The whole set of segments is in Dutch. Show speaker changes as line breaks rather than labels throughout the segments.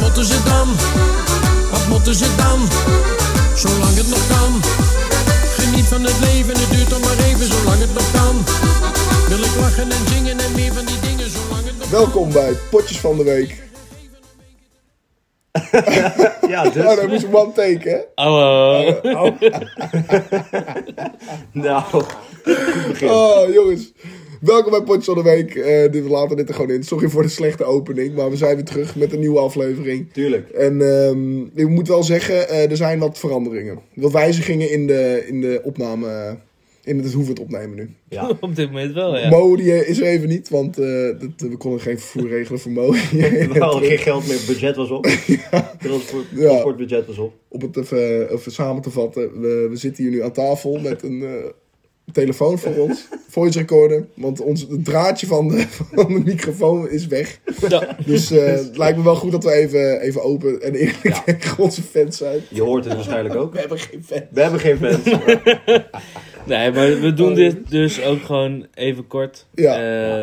moeten ze dan? Wat moeten ze dan? Zolang het nog kan. Geniet van het leven, het duurt toch maar even, zolang het nog kan. Wil ik lachen en zingen en meer van die dingen, zolang het nog
Welkom bij Potjes van de Week. Oh,
Ja, dus.
Nou, dat moest one take, hè?
Hallo. nou,
Oh, jongens. Welkom bij Potjes van de Week. Eh, dit, we laten dit er gewoon in. Sorry voor de slechte opening, maar we zijn weer terug met een nieuwe aflevering.
Tuurlijk.
En ehm, ik moet wel zeggen, eh, er zijn wat veranderingen. Wat wijzigingen in de, in de opname, eh, in het hoe we het opnemen nu.
Ja.
op dit moment wel, ja.
Mo, die eh, is er even niet, want eh, dat, we konden geen vervoer regelen voor Mo.
Wel, geen geld meer, budget was op. Transport,
Ja.
transportbudget was op.
om het even, even samen te vatten. We, we zitten hier nu aan tafel met een eh, telefoon voor ons. Voice recorder. Want ons, het draadje van de, van de microfoon is weg.
Ja.
Dus eh, het lijkt me wel goed dat we even, even open en eerlijk
Ja.
tegen onze fans zijn.
Je hoort het waarschijnlijk ook.
We hebben geen fans.
We hebben geen fans.
Nee, maar we doen dit dus ook gewoon even kort.
Oh. Ja.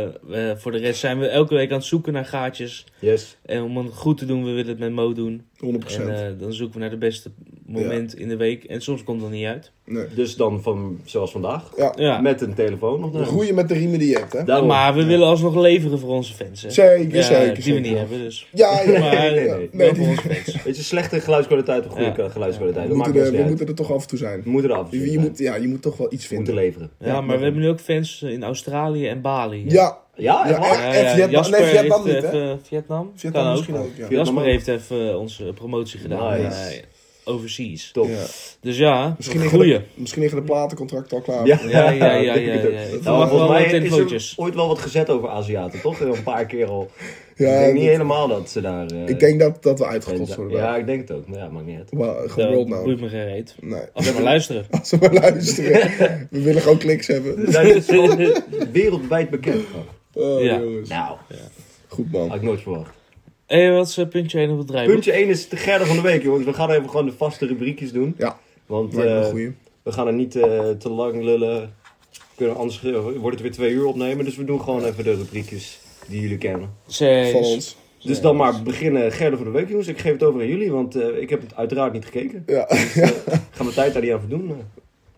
Eh, we- voor de rest zijn we elke week aan het zoeken naar gaatjes.
Yes.
En om het goed te doen, we willen het met Mo doen.
100%.
En eh, dan zoeken we naar de beste moment in de week. En soms komt dat niet uit.
nee.
Dus dan van, zoals vandaag.
Ja.
Ja.
Met een telefoon nog naar.
Groeien met de riemen die je hebt, hè?
Daarom.
Maar we willen alsnog leveren voor onze fans. Hè?
Zeker,
Ja,
zeker.
Die we niet
zeker.
hebben, dus.
Ja, ja,
Maar eh,
ja,
nee,
ja.
nee.
Nee,
wel
die-
voor onze fans.
Weet je, slechte geluidskwaliteit of goede
Ja.
geluidskwaliteit?
we,
Dat maakt
moeten
ons
er,
niet
we
uit.
moeten er toch af en toe zijn.
We moeten eraf.
Je, je moet, ja, je moet toch wel iets
moeten
vinden.
leveren.
Ja, maar we hebben nu ook fans in Australië en Bali. hè?
Ja,
Ja, echt
Ja, echt.
waar?
en Vietnam- nee, Vietnam
heeft
niet, hè?
even- Vietnam?
Vietnam
Kan ook.
misschien ook. Ja.
Ja.
Jasper
Vietnam ook.
heeft even eh, onze promotie gedaan.
Nice.
eh, overseas.
Top.
Ja.
Dus ja,
Misschien,
een
liggen
goeie.
de, misschien liggen de platencontracten al klaar.
Ja, ja, ja, ja,
dat denk
ja,
ik
ja.
ook.
Ik
Nou,
verwacht wel
volgens
wat
mij is
telefoontjes.
er ooit wel wat gezet over Aziaten, toch? Een paar keer al.
Ja,
ik denk niet
dat-
helemaal dat ze daar... eh,
Ik denk dat, dat we
en-
uitgekost worden.
Ja, ik denk het ook. Maar ja, maakt niet uit.
Maar gewoon world
Dat
nou.
boeit me geen reet.
Nee.
Als maar luisteren.
Als we maar luisteren. we willen gewoon kliks hebben.
We zijn dus gewoon wereldwijd bekend.
Oh,
Ja.
jongens.
Nou,
Goed
had
man.
ik nooit verwacht.
Hé, hey, wat is eh, puntje 1 op het draaiboek?
Puntje 1 is de Gerda van de Week, jongens. We gaan even gewoon de vaste rubriekjes doen.
Ja,
Want
lijkt me
eh,
een goeie.
we gaan er niet eh, te lang lullen. Kunnen we anders eh, wordt het weer twee uur opnemen. Dus we doen gewoon even de rubriekjes die jullie kennen.
Van
Zees.
ons.
Dus dan maar beginnen Gerda van de Week, jongens. Ik geef het over aan jullie, want eh, ik heb het uiteraard niet gekeken. Dus, eh,
Ja,
Ik ga mijn tijd daar niet aan verdoen. eh.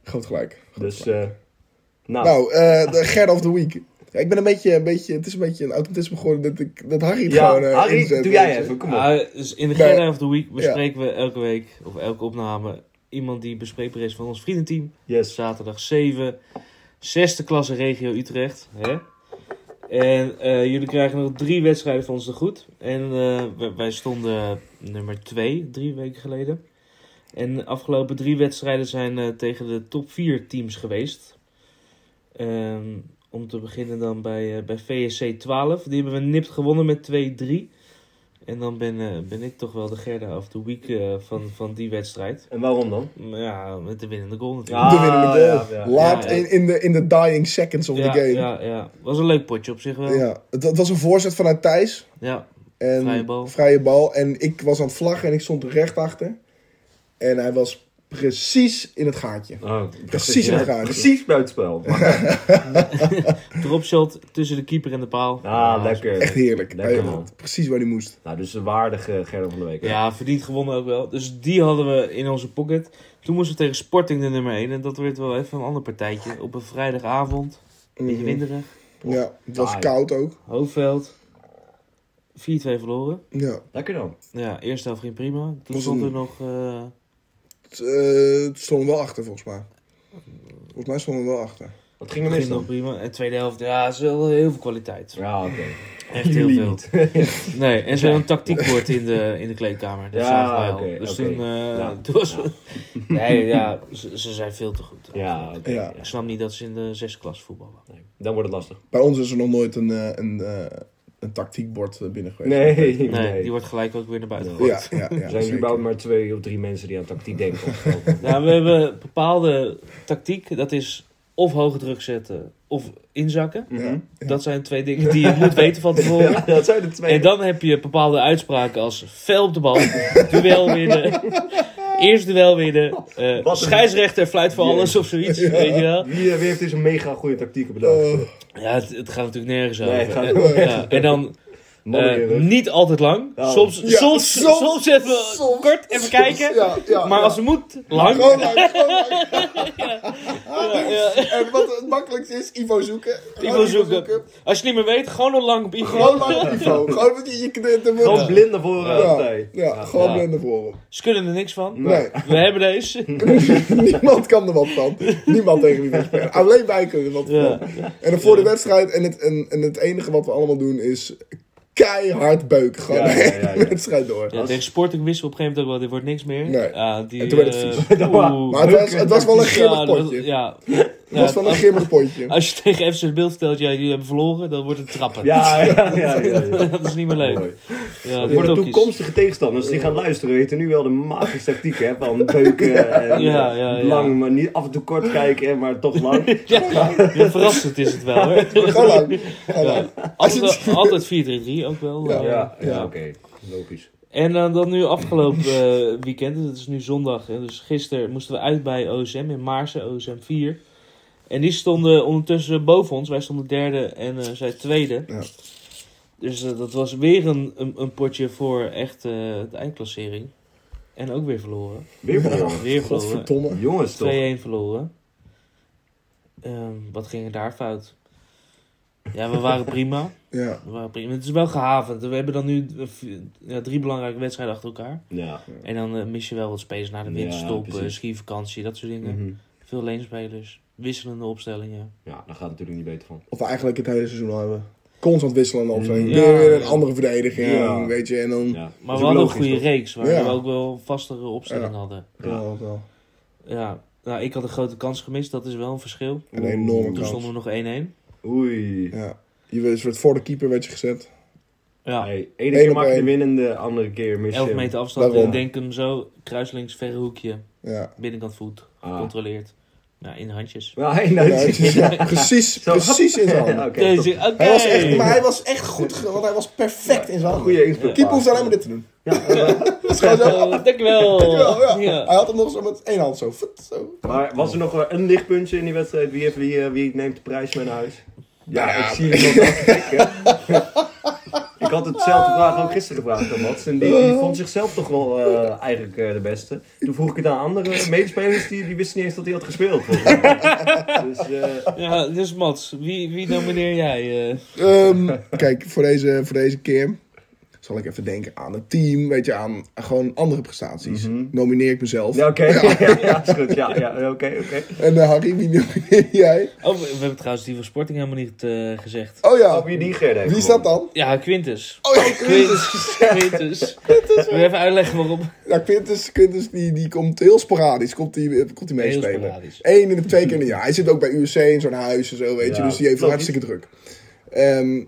groot gelijk.
Dus, eh, nou,
Nou, eh, de Gerd of the Week. Ja, ik ben een beetje, een beetje, het is een beetje een automatisme geworden dat, ik, dat Harry het
ja,
gewoon eh,
Harry,
inzet,
doe
weet
jij
je.
even. Kom op.
Ah, dus in de
Nee.
Gerda of the Week bespreken we elke week, of elke opname, iemand die bespreekbaar is van ons vriendenteam.
Yes.
Zaterdag 7, zesde klasse regio Utrecht. Hè? En eh, jullie krijgen nog drie wedstrijden van ons te goed. En eh, wij- wij stonden nummer 2 drie weken geleden. En de afgelopen drie wedstrijden zijn eh, tegen de top 4 teams geweest. Ehm, om te beginnen dan bij, eh, bij VSC 12. Die hebben we nipt gewonnen met 2-3. En dan ben, eh, ben ik toch wel de Gerda of the Week eh, van, van die wedstrijd.
En waarom dan?
Maar Ja, met de winnende goal natuurlijk.
Ah,
De winnende goal.
ja, ja.
Laat
Ja, ja.
In, in, de, in de dying seconds of
ja,
the game. Ja,
Ja, ja, was een leuk potje op zich wel. Ja,
Het, het was een voorzet vanuit Thijs. En
Vrije bal.
vrije bal. En ik was aan het vlaggen en ik stond recht achter. En hij was precies in het gaatje.
Oh,
Ah, Precies in het gaatje.
Precies buitenspel. Maar-
dropshot tussen de keeper en de paal.
Ah,
Echt
lekker.
heerlijk.
Lekker,
Hij-
man.
Precies waar hij moest.
Nou, dus de waardige Gerda van de Week. hè?
Ja, verdiend gewonnen ook wel. Dus die hadden we in onze pocket. Toen moesten we tegen Sporting de nummer 1. En dat werd wel even een ander partijtje. Op een vrijdagavond. Een beetje
Mhm.
winderig.
Ja, het was
Taai.
koud ook.
Hoofdveld. 4-2 verloren.
Ja.
Lekker dan.
Ja, eerste helft ging prima. Toen
Was
stond
een-
er nog... eh,
Het, eh, het stond er wel achter volgens mij. Volgens mij stond er wel achter.
Wat ging er mis
ging nog
dan?
prima. En tweede helft, ja, is wel heel veel kwaliteit.
Ja, oké.
Echt heel
Jullie
veel.
niet.
Nee, en zo'n tactiekbord in de, in de kleedkamer. Dat
Ja,
zagen wij al.
oké,
dus
oké.
toen, eh,
Ja.
toen was Nee, ja, ze, ze zijn veel te goed.
Ja, oké.
Ja.
Ik snap niet dat ze in de zesde klas voetballen.
Nee, Dan wordt het lastig.
Bij ons is er nog nooit een, eh, een, eh, een tactiekbord eh, binnen geweest.
Nee, nee.
Nee, die wordt gelijk ook weer naar buiten
Ja.
gegooid.
Ja, ja, ja.
er zijn
zeker.
überhaupt maar twee of drie mensen die aan tactiek denken. of zo.
Ja, Nou, we hebben bepaalde tactiek. Dat is of hoge druk zetten of inzakken.
Mhm.
Dat zijn twee dingen die je moet weten van tevoren.
Ja, dat zijn de twee.
En dan heb je bepaalde uitspraken als fel op de bal, duel winnen, eerst duel winnen, eh,
Wat een-
scheidsrechter fluit voor alles of zoiets, weet je wel.
Wie, eh, wie heeft deze mega goede tactieken bedacht?
Oh,
Ja, het, het gaat natuurlijk nergens
Nee,
over.
het gaat
En-
nergens
ja, En dan
Mannenheren.
Eh, niet altijd lang.
Ja.
Soms,
Ja,
soms,
soms-
soms, even
soms-
kort, even kijken.
Ja, ja,
maar
ja.
als het moet, lang.
Gewoon lang, gewoon lang.
Ja, ja.
En wat het makkelijkste is, Ivo zoeken. Gewoon
Ivo zoeken. Als je niet meer weet, gewoon nog lang op Ivo.
Gewoon lang op Ivo. Gewoon met je, je kn- de
Gewoon
Ja,
blind naar voren.
ja,
Nee.
gewoon
ja.
blind naar voren.
Ze kunnen er niks van.
Nee,
We hebben deze.
niemand kan er wat van. Niemand tegen wie we spelen. Alleen wij kunnen er wat
Ja.
van. En dan voor de wedstrijd, en het, en, en het enige wat we allemaal doen is keihard beuken. Gewoon
Ja, ja, ja, ja.
de wedstrijd door.
Ja, tegen Sporting wisten we op een gegeven moment ook wel, dit wordt niks meer.
Nee.
Ah, die,
En toen werd het
eh,
vies.
oeh.
Maar het was, het was wel een
Ja,
grimmig
dat-
potje. Het
Ja.
was wel een
als,
grimmig potje.
als je tegen FC Beeld vertelt, ja, jullie hebben verloren, dan wordt het trappen.
Ja, ja, ja. ja, ja.
dat is niet meer leuk.
Mooi.
Ja, het
Voor
wordt
de
ook iets.
toekomstige tegenstanders die gaan luisteren, weten nu wel de magische tactiek hè, van beuken en
Ja, ja, ja.
lang, maar niet af en toe kort kijken, maar toch lang.
Ja, ja, verrassend is het wel. Hè?
Gewoon lang. Gewoon lang.
Altijd, wel- altijd 4-3-3 ook wel.
Ja.
eh.
Ja, ja,
Ja.
oké. Logisch.
En eh, dan nu afgelopen eh, weekend, dus het is nu zondag, en dus gisteren moesten we uit bij OSM in Maarsen, OSM 4. En die stonden ondertussen boven ons, wij stonden derde en eh, zij tweede.
Ja.
Dus eh, dat was weer een, een, een potje voor echt eh, de eindklassering. En ook weer verloren.
Weer verloren.
Weer verloren. 2-1
Godverdomme.
Jongens toch.
verloren. Ehm, wat ging er daar fout? Ja, we waren prima.
Ja.
We waren prima. Het is wel gehavend. We hebben dan nu eh, v- ja, drie belangrijke wedstrijden achter elkaar.
Ja.
En dan eh, mis je wel wat spelers na de
Ja,
winterstop, eh,
precies.
skivakantie, dat soort dingen.
Mhm.
Veel leenspelers, wisselende opstellingen.
ja, daar gaat het natuurlijk niet beter van.
Of we eigenlijk het hele seizoen al hebben. Constant wisselen op zijn.
Ja.
Weer weer een andere verdediging,
Ja.
weet je. En dan...
Ja. Dat is
Maar
ook
we hadden een
logisch,
goede
toch?
reeks, waar
Ja.
we ook wel vastere opstellingen
Ja.
hadden.
Ja.
Ja, wel.
Ja, nou, ik had een grote kans gemist, dat is wel een verschil.
Een enorme
Toen
kans.
stonden we nog 1-1.
Oei.
Ja. Je werd- werd voor de keeper werd je gezet.
Ja,
Hey, ene
Eén
keer
op
maak je
één.
winnende, andere keer mis je.
11
hem.
meter afstand
Daarom.
en denk hem zo, kruislinks, verre hoekje,
Ja.
binnenkant voet,
Ah.
gecontroleerd. Ja, in de handjes.
Ja, één
Ja,
uit.
het is- ja, precies,
Zo.
precies in zijn handen.
Ja, oké.
Deze, oké.
Hij was echt, maar hij was echt goed, ge- want hij was perfect in zijn handen.
Goeie inspel.
Keeper hoeft alleen maar dit te doen.
Ja, eh,
Dat is gewoon zo.
Eh, dankjewel.
Dankjewel, ja.
Ja.
Hij had hem nog zo met één hand zo. fut, zo.
maar was er nog wel een lichtpuntje in die wedstrijd? Wie, heeft, wie, eh, wie neemt de prijs mee naar huis? Ja,
Nou
ik zie het nog wel kijken. Ik had hetzelfde vraag ook gisteren gevraagd aan Mats. En die, die vond zichzelf toch wel eh, eigenlijk eh, de beste. Toen vroeg ik het aan andere medespelers, die, die wisten niet eens dat hij had gespeeld. volgens mij. Dus eh,
Ja, dus Mats, wie, wie nomineer jij? eh?
Ehm, kijk, voor deze, voor deze keer zal ik even denken aan het team. Weet je, aan gewoon andere prestaties. Nomineer ik mezelf.
ja, oké. Ja, ja, is goed. Ja, ja, oké, oké.
En eh, Harry, wie nomineer jij?
Oh, we we hebben trouwens die van Sporting helemaal niet eh, gezegd.
Oh ja,
Oh, wie die Gerda heeft
wie is dat
gewonnen.
dan?
Ja, Quintus.
Oh ja, Quintus.
Quintus. Quintus. Wil je even uitleggen waarom?
Ja, Quintus, Quintus die, die komt heel sporadisch komt die, eh, komt die
Heel
meespelen.
sporadisch.
Eén in de twee keer in een jaar. Hij zit ook bij USC in zo'n huis en zo, weet je.
Ja,
Dus die heeft
logisch.
hartstikke druk. Ehm,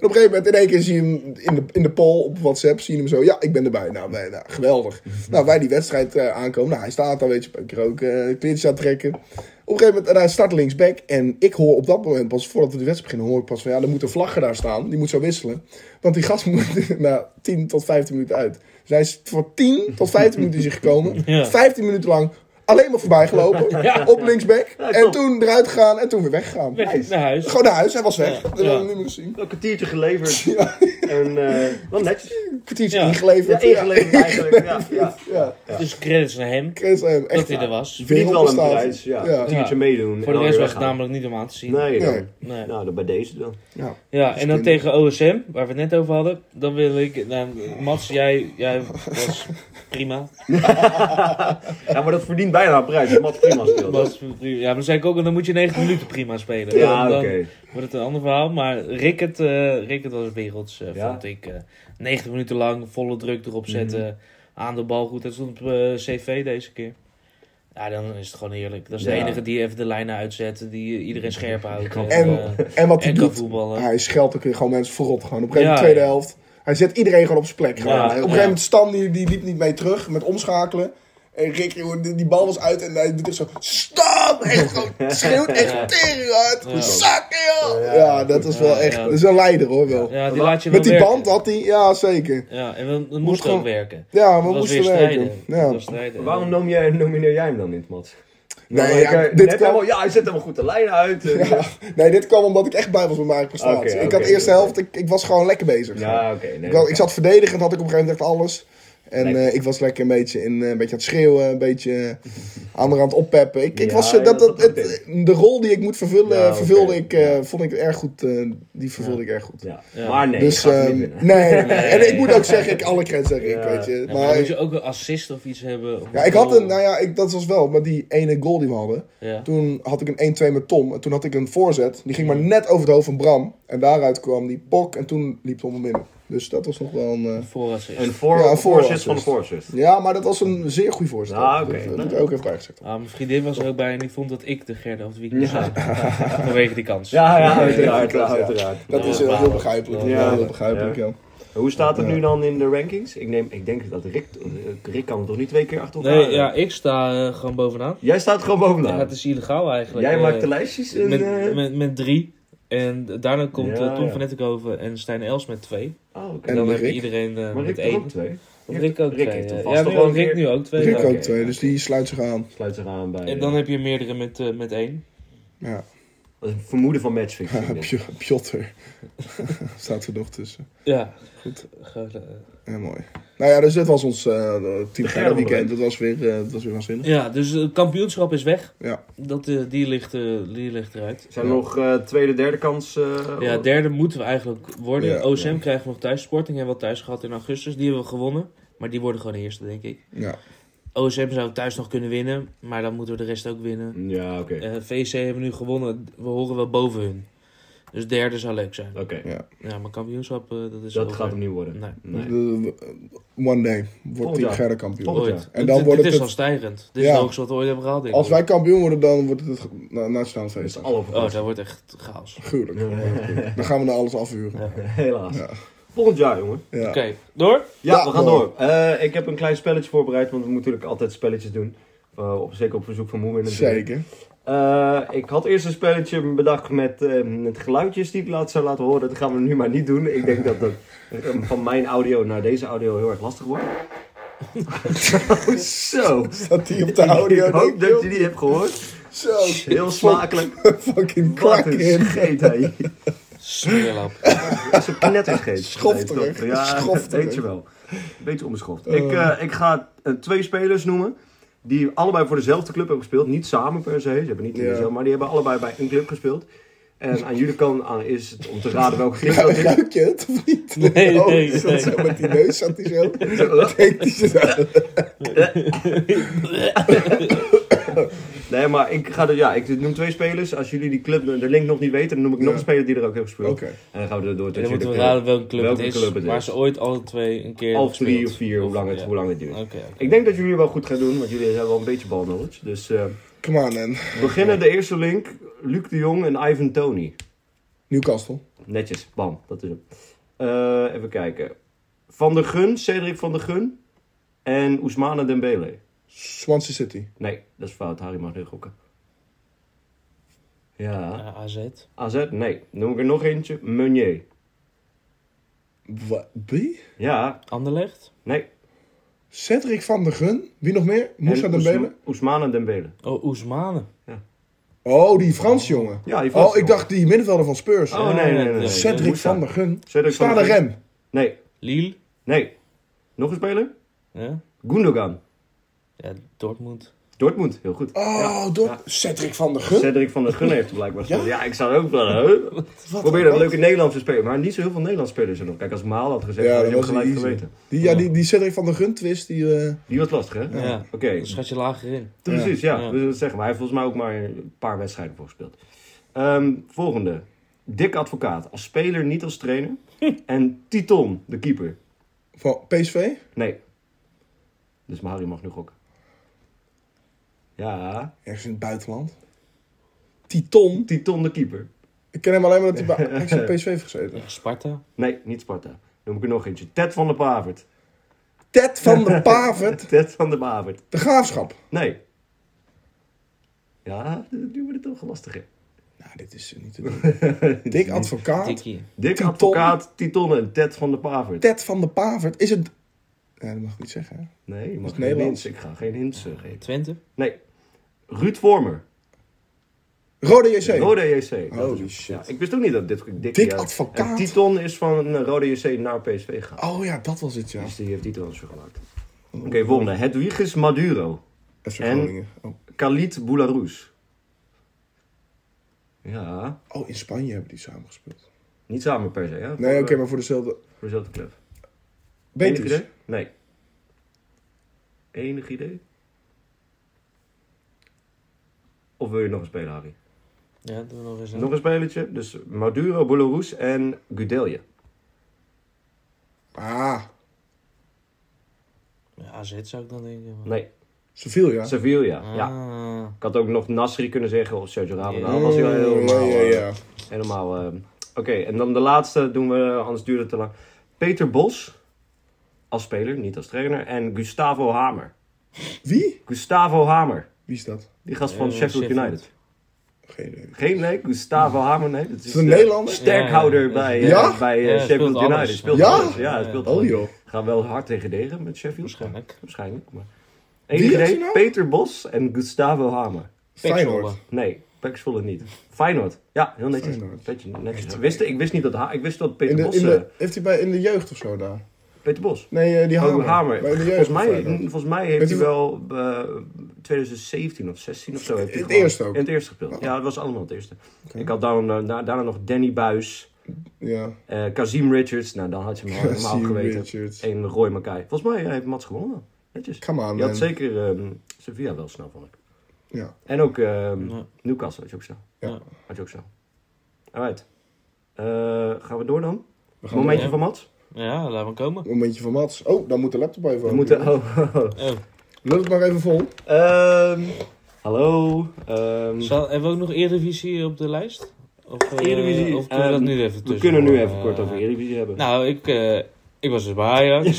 en op een gegeven moment, in één keer zie je hem in de, in de poll op WhatsApp, zie je hem zo. Ja, ik ben erbij. Nou, wij- nou, geweldig. Nou, wij die wedstrijd eh, aankomen. Nou, hij staat daar, weet je, een keer ook eh kleertjes aan het trekken. Op een gegeven moment, en hij start linksback. En ik hoor op dat moment pas, voordat we de wedstrijd beginnen, hoor ik pas van... Ja, er moet een vlagger daar staan. Die moet zo wisselen. Want die gast moet na 10 tot 15 minuten uit. Dus hij is voor 10 tot 15 minuten is hij gekomen.
Ja.
15 minuten lang alleen maar voorbij gelopen. Op linksback. en
top.
toen eruit gegaan en toen weer weggegaan.
Weg naar huis.
Gewoon naar huis, hij was weg.
Ja.
Dat hebben
Ja.
we niet meer gezien.
Een kwartiertje geleverd. En eh wel netjes.
Een kwartiertje
Ja.
Ja,
ingeleverd.
ingeleverd eigenlijk. Ja, ja.
Ja,
Dus credits naar hem.
Chris hem echt
Dat hij er was.
Verdient wel een
wereldprestatie.
prijs. Ja,
Ja.
een kwartiertje meedoen.
Voor de
en
rest
dan
was het
weer weggaan.
namelijk niet om aan te zien.
Nee,
Nee.
dan.
Nee.
Nou, dan bij deze dan.
Ja.
Ja, en
Slim.
dan tegen OSM, waar we het net over hadden. Dan wil ik... Nou, Mats, jij, jij was prima.
Ja, maar dat verdient bijna een prijs. Wat prima speelt.
Was prima. Ja, maar dan zei ik ook, en dan moet je 90 minuten prima spelen.
Ja,
Dan-
oké.
dan wordt het een ander verhaal. Maar Rickert, eh Rickert was werelds, eh,
Ja.
vond ik. eh 90 minuten lang, volle druk erop
Mhm.
zetten. Aan de bal goed. Dat stond op eh, CV deze keer. Ja, dan is het gewoon heerlijk. Dat is de
Ja.
enige die even de lijnen uitzet. Die eh, iedereen scherp houdt. En,
En,
eh,
en wat hij
en kan
doet,
voetballen.
hij scheldt ook weer gewoon mensen voorop. Gewoon. Op een gegeven moment,
Ja.
tweede helft. Hij zet iedereen gewoon op zijn plek. Gewoon.
Ja,
op een gegeven
ja.
moment, Stan die, die liep niet mee terug met omschakelen. En Rick, joh, die, die bal was uit en hij doet echt zo... Stan! Echt gewoon, schreeuwt
Ja.
echt tegen uit.
Ja.
Zakken, joh!
Ja.
Ja, dat was wel
Ja,
echt...
ja.
Dat is een leider, hoor, wel.
Ja, die laat je
Met
wel
die
werken.
band had hij... Ja, zeker.
Ja, en dan- dan
Moet
moest het ook
gewoon-
werken.
Ja,
Het
we
was weer
moesten werken.
strijden. Het
Ja.
was strijden.
Waarom noem jij, nomineer jij hem dan niet, Mats? Nou,
Nee,
maar
ja,
kijk,
dit
net
kan-
helemaal, ja, hij zet helemaal goed de lijn uit. en-
Ja, nee, dit kwam omdat ik echt bij was met mijn eigen prestatie.
Oké,
ik had
oké,
de eerste
oké.
helft, ik, ik was gewoon lekker bezig.
Ja, oké. nee,
ik, wel-
dat
ik
kan.
zat verdedigend, had ik op een gegeven moment echt alles. En
Lekker.
eh, ik was lekker een beetje, in, eh, een beetje aan het schreeuwen, een beetje eh, aan de rand oppeppen. Ik, ik
Ja,
was, eh,
ja,
dat,
dat
dat,
had ik
het- de rol die ik moet vervullen,
Ja, oké.
vervulde ik, eh,
Ja.
vond ik erg goed. eh, die vervulde ik erg goed.
Ja.
Ja.
Maar nee,
dus,
gaat hem
ehm,
niet winnen.
nee, en ik moet ook zeggen, ik alle credits zeg ik,
Ja.
weet je.
Ja, maar dan
maar,
moet je ook een assist of iets hebben. of
ja,
een
ik had
goal.
een, nou ja, ik, dat was wel, maar die ene goal die we hadden,
Ja.
Toen had ik een 1-2 met Tom. En toen had ik een voorzet. Die ging maar net over het hoofd van Bram. En daaruit kwam die pok. En toen liep Tom hem binnen. Dus dat was nog wel een... eh,
Voorassist.
Een voor,
Ja, een
voorzet
voorassist.
van de voorzet.
Ja, maar dat was een zeer goede voorzet.
Ah, oké.
Dat eh, moet ik ook even bijgezegd
Ah, mijn vriendin was er ook bij en die vond dat ik de Gerda of de week moest zijn. Vanwege die kans.
Ja, ja,
uiteraard,
uiteraard.
ja.
uiteraard.
hebben. Dat
Ja,
is eh, heel,
wauw.
heel begrijpelijk.
Ja,
Ja,
ja.
heel begrijpelijk, ja.
Hoe staat het
Ja.
nu dan in de rankings? Ik, neem, ik denk dat Rick... Rick kan het toch niet twee keer achter elkaar?
Nee, ja, ik sta eh, gewoon bovenaan.
Jij staat gewoon
Ja,
bovenaan.
het is illegaal eigenlijk.
Nou. Jij
Eh,
maakt de lijstjes en... eh,
met, met, met drie. En daarna komt
Ja,
eh, Tom
ja.
van Nettenkoven en Stijn Els met twee.
Oh, oké.
En
En
dan heb
Rick?
je iedereen eh,
Maar Rick
met
heeft er
één.
ook twee.
Rick ook
Rick
twee.
heeft er
eh.
vast
Ja,
toch
nu-
wel een
Rick
keer-
nu ook twee.
Rick
ja.
ook twee, dus die sluit zich aan.
Sluit zich aan bij...
En dan heb je meerdere met, eh, met één.
Ja,
Dat is een vermoeden van matchfixing. dit.
Pj- Pjotter. Staat er nog tussen.
Ja, goed. Gewoon, eh,
Ja, mooi. Nou ja, dus dit was ons eh Team Gerda
onderwerp.
weekend. Dat was weer, eh, dat was weer waanzinnig.
Ja, dus het kampioenschap is weg.
Ja.
Dat, eh, die, ligt, eh, die ligt eruit.
Zijn er nog eh, tweede, derde kans? eh,
Ja, derde moeten we eigenlijk worden.
Ja,
OSM
ja.
krijgen we nog thuis. Sporting hebben we al thuis gehad in augustus. Die hebben we gewonnen. Maar die worden gewoon de eerste, denk ik.
Ja.
OSM zou thuis nog kunnen winnen. Maar dan moeten we de rest ook winnen.
Ja, oké.
Eh VC hebben we nu gewonnen. We horen wel boven hun. Dus derde zou leuk zijn.
Oké,
Ja, maar kampioenschap, eh, dat is
dat
Nou, over.
gaat hem niet worden.
Nee.
Nee.
Eh, One day
Volgend
wordt Team
jaar.
Gerda kampioen.
Volgend
Ooit.
jaar.
En dan
dit,
wordt
dit
het het-
is al stijgend. Dit is
Ja.
het hoogste wat we ooit hebben gehaald. denk ik.
Als wij kampioen worden, dan wordt het het na- nationale
Dat is
feest.
alle
Oh,
verrassing.
dat wordt echt chaos.
Gruwelijk. Dan gaan we naar alles afhuren.
Ja.
Helaas.
Ja.
Volgend jaar, jongen.
Ja.
Oké, door.
Ja,
Ja,
we gaan
mooi.
door. Eh, ik heb een klein spelletje voorbereid, want we moeten natuurlijk altijd spelletjes doen. Eh, op, zeker op verzoek van moeder. natuurlijk.
Zeker.
Eh, ik had eerst een spelletje bedacht met, eh, met geluidjes die ik laat, zou laten horen. Dat gaan we nu maar niet doen. Ik denk dat dat eh, van mijn audio naar deze audio heel erg lastig wordt. Oh, Zo.
Staat die op de audio?
Ik hoop dat je die hebt gehoord.
Zo.
Heel smakelijk.
Fucking
Wat
crack
een
in.
scheet, hè.
Smeerlap.
Dat is een knetterscheet.
Schofterig.
Nee, toch? Ja,
Schofterig. Oh.
weet je wel. Beetje onbeschoft. Ik, eh, ik ga eh, twee spelers noemen. Die allebei voor dezelfde club hebben gespeeld. Niet samen per se. Ze hebben niet in
Ja.
dezelfde, maar die hebben allebei bij een club gespeeld. En aan jullie kant aan is het om te raden welke club
Ja,
dat is.
ruik je het of niet?
Oh, Nee,
Oh,
nee,
die zat
nee.
zo met die neus zat hij zo.
Eh,
Denkt hij zo.
Nee, maar ik, ga er, ja, ik noem twee spelers. Als jullie die club, de link nog niet weten, dan noem ik nog
Ja.
een speler die er ook heeft gespeeld.
Oké.
En dan gaan we er door tot
Dan moeten we
jullie eh,
raden welke club
welke
het is.
club het
waar
is.
ze ooit alle twee een keer
Of drie
gespeeld.
of vier, hoe lang het,
ja.
hoe lang het duurt.
Oké. oké.
Ik denk dat jullie wel goed gaan doen, want jullie hebben wel een beetje balknowledge. Dus... eh,
Come on, man.
We Beginnen de eerste link. Luc de Jong en Ivan Tony.
Newcastle.
Netjes. Bam. Dat is hem. Eh, even kijken. Van der Gun. Cedric van der Gun. En Ousmane Dembele.
Swansea City.
Nee, dat is fout. Harry mag nu gokken. Ja.
Ja, AZ.
AZ? Nee. Noem ik er nog eentje. Meunier.
Wat? Wie?
Ja.
Anderlecht.
Nee.
Cedric van der Gun. Wie nog meer? Moussa
En
Dembele.
Ousma- Ousmane Dembele.
Oh, Oesmane.
Oh, die Frans jongen.
Ja, die Frans
Oh, ik dacht die middenvelder van Spurs.
Oh, nee, nee, nee. nee.
Cedric
Moussa.
van der Gun.
Cedric van
Sta
der
de
Gun.
rem.
Nee.
Lille.
Nee. Nog een speler?
Ja.
Gundogan.
ja, Dortmund.
Dortmund. Heel goed.
Oh, door. Cedric van der Gun.
Cedric van der Gun heeft er blijkbaar
Ja?
gespeeld. Ja, ik zou ook wel. hè?
Wat
Probeer
een
dat leuke Nederlandse spelen, maar niet zo heel veel Nederlandse spelers er nog. Kijk, als Maal had gezegd,
Ja,
had je
dat
hem
was
gelijk
easy.
geweten.
Die, ja, die, die Cedric van der Gun twist, die... eh,
Die was lastig, hè?
Ja.
Oké,
Dan schat je lager in.
precies, ja.
Ja.
Dus dat zeggen, maar hij heeft volgens mij ook maar een paar wedstrijden voor gespeeld. Ehm, volgende. Dick Advocaat, als speler, niet als trainer. en Titon, de keeper.
Van PSV?
Nee. Dus Mari mag nu gokken. Ja,
Ergens in het buitenland. Titon.
Titon, de keeper.
Ik ken hem alleen maar dat hij bij Ajax en PSV heeft gezeten.
Ja, Sparta.
Nee, niet Sparta. Noem ik er nog eentje. Ted van der Pavert.
Ted van de Pavert.
Ted van der Pavert.
De Graafschap.
Nee. Ja, nu wordt het toch lastiger.
Nou, dit is niet te doen. Dik advocaat.
Dikkie.
Dick
Titon.
Advocaat, Titon en Ted van der Pavert.
Ted van de Pavert. Is het... Ja, dat mag ik niet zeggen. hè?
Nee, je mag
is
geen
Nederlands.
hints. Ik ga geen hints eh, geven.
Twente.
Nee. Ruud Vormer.
Rode JC.
Rode JC. Dat
Holy
is-
shit.
Ja, ik wist ook niet dat dit dik
Dick Advocaat.
En Titon is van eh, Rode JC naar PSV gegaan.
Oh ja, dat was het, ja.
Dus die heeft die transfer gemaakt. Oké, volgende. Hedwiges Maduro.
FC
En-
Groningen. Oh.
Khalid Boularus. Ja,
oh, in Spanje hebben die samen gespeeld.
niet samen per se, hè?
Nee, oké,
Voor, eh,
maar voor dezelfde...
Voor dezelfde club. Enig
Betis.
idee? Nee. Enig idee? Of wil je nog een speler, Harry?
Ja, doen we nog eens.
Nog een spelertje. Dus Maduro, Boularus en Gudelje.
Ah,
Ja, AZ zou ik dan denken. maar-
Nee,
Sevilla.
Sevilla.
Ah.
Ja. Ik had ook nog Nasri kunnen zeggen of Sergio Ramos. Nou, Dat
Ja.
was heel,
Mm, ja,
helemaal...
ja,
eh,
ja.
helemaal eh, Oké, en dan de laatste doen we, anders duurt het te lang. Peter Bos. Als speler, niet als trainer. En Gustavo Hamer.
Wie?
Gustavo Hamer.
Wie is dat?
Die gast van
Eh,
Sheffield
Sheffield.
United.
Geen idee.
Geen nee, Gustavo Hamer, nee. Dat
Is het een
de
Nederlander?
Sterkhouder
Ja, ja.
bij, eh,
Ja?
bij eh,
Ja, hij
Sheffield
speelt
United.
alles.
Speelt
Ja?
alles. Ja, hij
Ja.
speelt
Oh
alles.
joh.
Gaan wel hard tegen degen met Sheffield.
Waarschijnlijk.
Waarschijnlijk. Maar...
Wie
Eén
had
idee,
je nou?
Peter Bos en Gustavo Hamer.
Feyenoord.
Nee, Pax voelde niet. Feyenoord. Ja, heel netjes.
Feyenoord.
Beetje netjes. Ik wist, ik wist niet dat Ha- ik wist dat Peter
In de,
Bos...
in
eh,
de, heeft hij bij in de jeugd of zo daar?
Peter Bos.
Nee, eh, die
Oh,
hamer.
Hamer.
Bij de jeugd
Volgens, mij,
van Feyenoord.
volgens mij
Weet
heeft hij
u-
wel eh, 2017 of 16 of zo. Heeft hij
In het
gewoon-
eerste ook? Oh.
In het eerste gespeeld. Ja, het was allemaal het eerste. Ik had daarom, eh, da- daarna nog Danny Buis,
Ja.
eh Kazim Richards. Nou, dan had je hem al helemaal
Kazim
geweten.
Richards.
En Roy Mackay. Volgens mij heeft Mats gewonnen. Netjes.
Come on,
Je had
man.
zeker ehm, Sevilla wel snel, vond ik.
Ja.
En ook ehm,
Ja.
Newcastle had je ook snel.
Ja.
Had je ook snel. Alright. Eh, gaan we door dan?
We gaan
Momentje
door.
van Mats?
Ja, laat maar komen.
door. Momentje van Mats. Oh, dan moet de laptop even
We
open.
moeten... oh.
Oh,
Lul het maar even vol.
Ehm, hallo. ehm,
zal, hebben we ook nog Eredivisie op de lijst? Of, eh,
Eredivisie,
of kunnen we dat
ehm,
nu even tussen?
we kunnen nu
horen?
even kort over
Eh,
Eredivisie hebben.
Nou, ik, eh, ik was dus bij Ajax.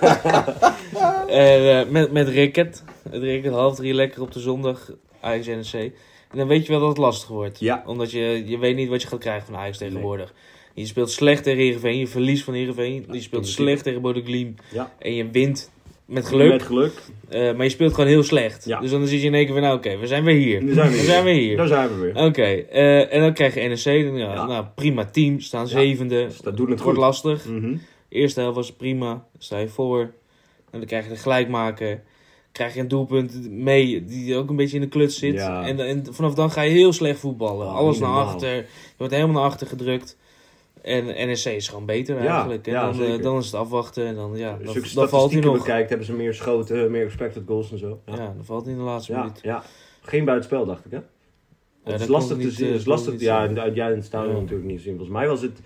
en, eh, met, met Ricket. Het Ricket half drie lekker op de zondag. Ajax NEC. En dan weet je wel dat het lastig wordt.
Ja.
Omdat je, je weet niet wat je gaat krijgen van Ajax tegenwoordig. Je speelt slecht tegen Heerenveen. Je verliest van Heerenveen. Je speelt
inderdaad.
slecht tegen Bodeglim.
Ja.
En je wint met geluk.
Met geluk.
Eh, maar je speelt gewoon heel slecht.
Ja.
Dus dan zit je in één keer van, nou oké, we zijn weer
Daar
hier.
zijn we weer.
hier.
Daar zijn we weer.
Oké, eh, en dan krijg je NEC. Dan, ja,
Ja.
Nou, prima team. Staan zevende.
Dus dat doen het
Het wordt
goed.
lastig.
Mhm.
Eerste helft was prima, sta je voor. En dan krijg je de gelijkmaker. Krijg je een doelpunt mee die ook een beetje in de kluts zit.
Ja.
En, en vanaf dan ga je heel slecht voetballen.
Ja,
Alles
niet
naar
normaal.
achter. Je wordt helemaal naar achter gedrukt. En NEC is gewoon beter
Ja,
eigenlijk. En
ja,
dan, eh,
zeker.
dan is het afwachten. En dan, ja,
Als
dan,
je
dan
ook
valt hij
statistieken
nog.
bekijkt, hebben ze meer schoten, eh, meer expected goals en zo.
Ja, dan valt hij in de laatste
ja.
minuut.
ja. Geen buitenspel, dacht ik, hè?
Ja,
het is
dat
lastig
kon
te
niet,
zien.
eh,
Het is
kon
lastig,
niet
ja, nou,
zien.
en uit jij in het stadion
Ja.
natuurlijk niet zien. Volgens mij was, het,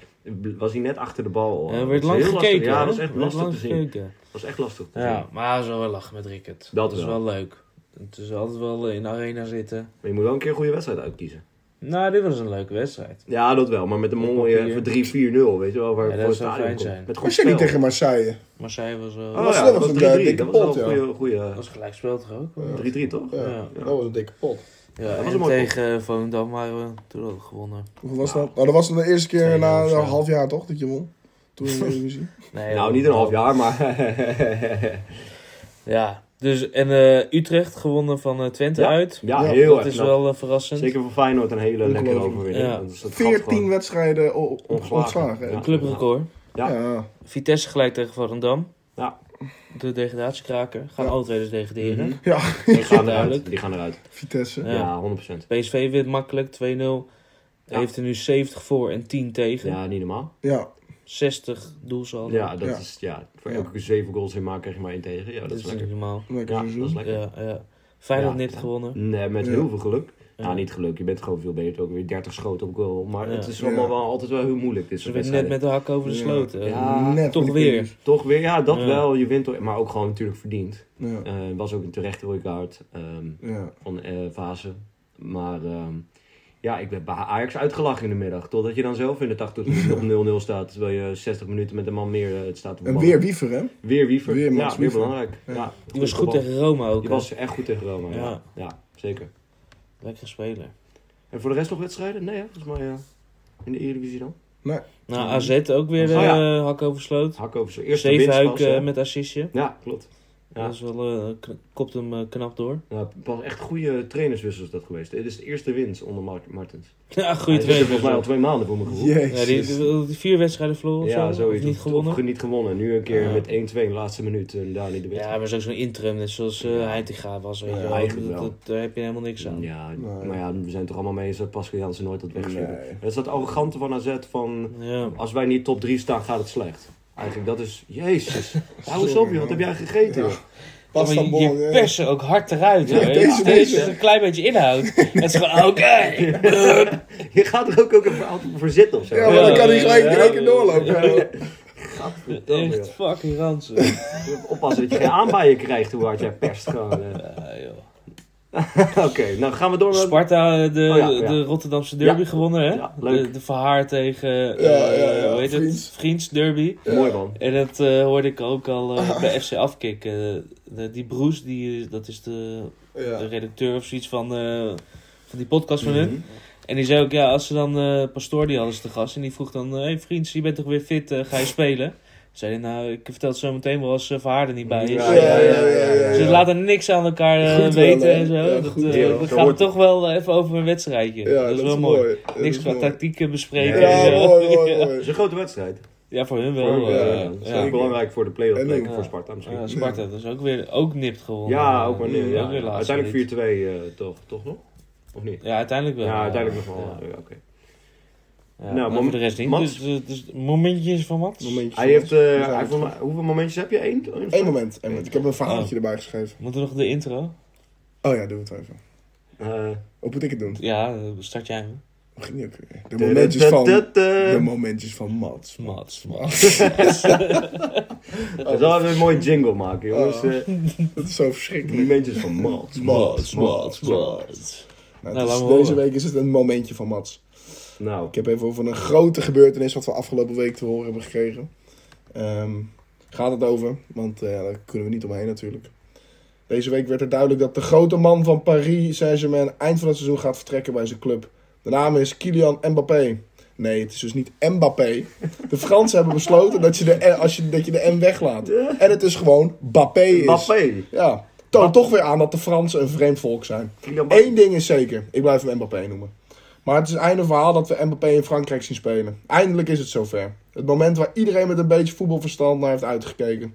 was hij net achter de bal.
Ja, er
Dat
werd
is
lang
heel
gekeken.
Lastig. Ja,
hè?
dat was echt
Er werd
lastig te
lang
zien.
gekeken.
Dat was echt lastig te
Ja,
zien.
maar zo wel lachen met Rickert.
Dat
is
wel.
wel leuk. Het is altijd wel eh, in de arena zitten.
Maar je moet wel een keer een goede wedstrijd uitkiezen.
Nou, dit was een leuke wedstrijd.
Ja, dat wel. Maar met een
Op
mooie
papier.
voor 3-4-0, weet je wel, waar
Ja,
voor
dat
het
zou
stadion
fijn
komt.
zijn.
Met goed
Was jij niet
spel.
tegen Marseille?
Marseille was wel...
Oh,
was
ja,
net
dat
als
was
een,
3-3.
eh, dikke
Dat was
pot,
wel
ja.
een goede
Dat was gelijk spel toch ook? Ja,
3-3, toch?
Ja,
Ja.
dat was een dikke pot.
was
en
een mooi
tegen eh, Volendam waren we toen ook gewonnen.
Hoeveel was dat? Nou, dat was de eerste keer
Twee
na een
of zo.
half jaar toch, dat je won? Toen in de Eredivisie.
Nee,
Nou,
we-
niet een half jaar, maar...
Ja, dus en eh, Utrecht gewonnen van eh, Twente
Ja.
uit.
Ja,
Ja,
heel
dat
erg
is
knap.
wel eh, verrassend.
Zeker voor Feyenoord een hele lekkere
Ongelooflijk.
overwinning.
Ja.
Dat is dat
14
gewoon-
wedstrijden o- o-
Ongeslagen.
ontslagen. hè?
Een clubrecord.
Ja.
Ja.
Vitesse gelijk tegen Volendam.
Ja.
De degradatiekraker. Gaan
Ja.
alle twee dus degraderen.
Mhm.
ja,
Dat
Die
is
gaan eruit.
duidelijk.
Die gaan eruit.
Vitesse.
Ja.
Ja, 100%.
PSV wint makkelijk 2-0.
Ja.
Heeft er nu 70 voor en 10 tegen.
Ja, niet normaal.
Ja,
60 doelsaldo.
Ja, dat
Ja.
is... Ja, voor
Ja.
elke 7 goals in maak krijg je maar één tegen. Ja,
dat,
dat is
is niet
lekker.
normaal.
lekker
Ja, dat is
seizoen.
lekker.
Ja, ja. Feyenoord
Ja,
net
ja.
gewonnen.
Nee, met
Ja.
heel veel geluk. Nou,
Ja.
niet geluk. Je bent gewoon veel beter. Ook weer 30 schoten op goal. Maar
Ja.
het is allemaal
Ja.
wel altijd wel heel moeilijk. Dit
Ze
soort
winnen net
wedstrijden.
met de hak over de
Ja.
sloot. eh.
Ja.
Net
toch
met
weer.
Kudus.
Toch weer, ja, dat
Ja.
wel. Je wint, toch- maar ook gewoon natuurlijk verdiend.
Ja.
Eh, was ook een terechte rode kaart ehm,
Ja.
van eh fase. Maar ehm, ja, ik ben bij Ajax uitgelachen in de middag. Totdat je dan zelf in de 80 minuten op 0-0 staat. Terwijl je 60 minuten met een man meer eh, het staat te
En
voetballen.
weer Wiever, hè?
Weer Wiever.
Weer
ja,
Max
weer
Wiever.
belangrijk. Ja.
Ja.
Die was goed tegen Roma ook.
Die
hè.
was echt goed tegen Roma, ja. ja.
Ja.
zeker.
Lekker speler.
En voor de rest nog wedstrijden? Nee, hè? volgens mij eh, in de Eredivisie dan.
Nou, AZ ook weer
Oh, ja.
eh, hak over sloot.
Hak over zijn eerste winst.
Zevenhuik
was,
eh,
eh,
met assistje.
Ja, klopt. Ja.
Dat is wel, eh, kn- kopt hem eh, knap door.
Nou, pas echt goede trainerswissel is dat geweest. Dit is de eerste winst onder Mar- Martens.
ja, goede
Hij zit er volgens mij al
twee.
twee maanden voor mijn gevoel.
Ja, die,
Jezus.
die- die vier wedstrijden verloren of
Ja,
zo, of
zoiets.
niet
Of-
gewonnen.
Of niet gewonnen. Nu een keer
Ja.
met 1-2 laatste minuut en daar niet de
ja,
wedstrijd.
maar zo'n zo'n interim, net zoals eh Heitinga was. weet
Ja,
je wel.
eigenlijk
Dat-
wel.
dat- daar heb je helemaal niks aan. Ja,
Ja,
Nee.
maar ja, we zijn toch allemaal mee eens dat Pascal Jansen nooit dat wegsturen.
Nee.
Dat is dat arrogante van AZ van... Als wij niet top 3 staan, gaat het slecht. Eigenlijk, dat is... Jezus, hou eens op, joh. Wat heb jij gegeten, joh?
Pas
Ja,
dan
maar je, je
bol.
persen ook hard eruit. hoor.
deze-
Als
deze-
je er een klein beetje inhoudt. Het is gewoon, oké.
Je gaat er ook, ook even altijd voor zitten of zo.
Ja, maar dan kan hij
Ja,
gelijk
ja,
in één keer
ja.
doorlopen.
Gadverdamme,
Echt fucking ranzig.
joh. Oppassen dat je geen aanbijen krijgt hoe hard jij perst. gewoon, eh.
Ja, joh.
Oké, nou gaan we door met...
Sparta, eh, de,
Oh, ja, ja.
de Rotterdamse derby
Ja.
gewonnen, hè?
Ja, leuk.
De, de Verhaar tegen, eh,
Ja, ja, ja,
hoe heet
Vriends.
het? Vriends derby.
Mooi, man.
En dat eh, hoorde ik ook al eh, bij FC Afkik. eh, de- die Broes, die, eh, dat is de, de
Ja.
redacteur of zoiets van, eh, van die podcast van
Mhm.
hun. En die zei ook, ja, als ze dan eh Pastoor die hadden ze te gast. En die vroeg dan, hé hey, vriends, je bent toch weer fit, eh, ga je spelen? Zei hij, nou, ik vertel het zo meteen wel als eh, Verhaar er niet bij is.
Ja, ja, ja, ja, ja.
Ze laten niks aan elkaar eh,
Goed wel,
weten
hè?
en zo.
Ja,
dat,
goed
eh,
wel.
we
Zo
gaan
hoort
toch wel eh, even over een wedstrijdje.
Ja,
dat is wel mooi.
Dat
Niks
is
qua
mooi.
tactieken bespreken.
Ja,
Ja,
en zo.
mooi, mooi,
Ja.
Het is
mooi.
een grote wedstrijd.
Ja, voor hun
Voor,
wel.
eh,
eh,
ja,
dat is
ja.
ook belangrijk voor de play-off
En
plek,
ook.
voor Sparta misschien.
Ja, Sparta, dat is ook weer ook nipt gewonnen.
Ja, ook maar
Eh,
nu. Ja.
ook weer laatst
Uiteindelijk
niet.
4-2 eh, toch, toch nog? Of niet?
Ja, uiteindelijk wel.
Ja, uiteindelijk nog wel.
Ja.
eh, Oké.
Ja,
Nou,
maar voor
moment-
de rest niet.
Mats-
Dus, eh, dus momentjes van Mats.
Momentjes.
Hij heeft, eh,
We zijn
hij heeft
het.
volgens mij- hoeveel momentjes heb je? Eén?
Eén moment, één moment. Ik heb een
Oh.
verhaaltje erbij geschreven.
Moeten we nog de intro?
Oh ja, doe het even.
Eh,
Hoe moet ik het doen?
Ja, eh, start jij hem.
Hoe ging die ook weer? De momentjes van... De
Dat
momentjes van Mats.
Mats,
Mats.
zal even een mooie jingle maken, jongens.
Oh.
eh,
Dat is zo verschrikkelijk.
momentjes van Malt.
Mats, Mats, Mats. Nou, het
Nou,
is-
laat me
deze
horen.
week is het een momentje van Mats.
Nou,
Ik heb even over een grote gebeurtenis wat we afgelopen week te horen hebben gekregen. Ehm, gaat het over, want eh, daar kunnen we niet omheen natuurlijk. Deze week werd er duidelijk dat de grote man van Paris Saint-Germain eind van het seizoen gaat vertrekken bij zijn club. De naam is Kylian Mbappé. Nee, het is dus niet Mbappé. De Fransen hebben besloten dat je de, N- als je, dat je de M weglaat. En het is gewoon Bappé is.
Mbappé.
Ja, toont toch weer aan dat de Fransen een vreemd volk zijn.
Kylian Mbappé.
Eén ding is zeker, ik blijf hem Mbappé noemen. Maar het is een einde verhaal dat we Mbappé in Frankrijk zien spelen. Eindelijk is het zover. Het moment waar iedereen met een beetje voetbalverstand naar heeft uitgekeken.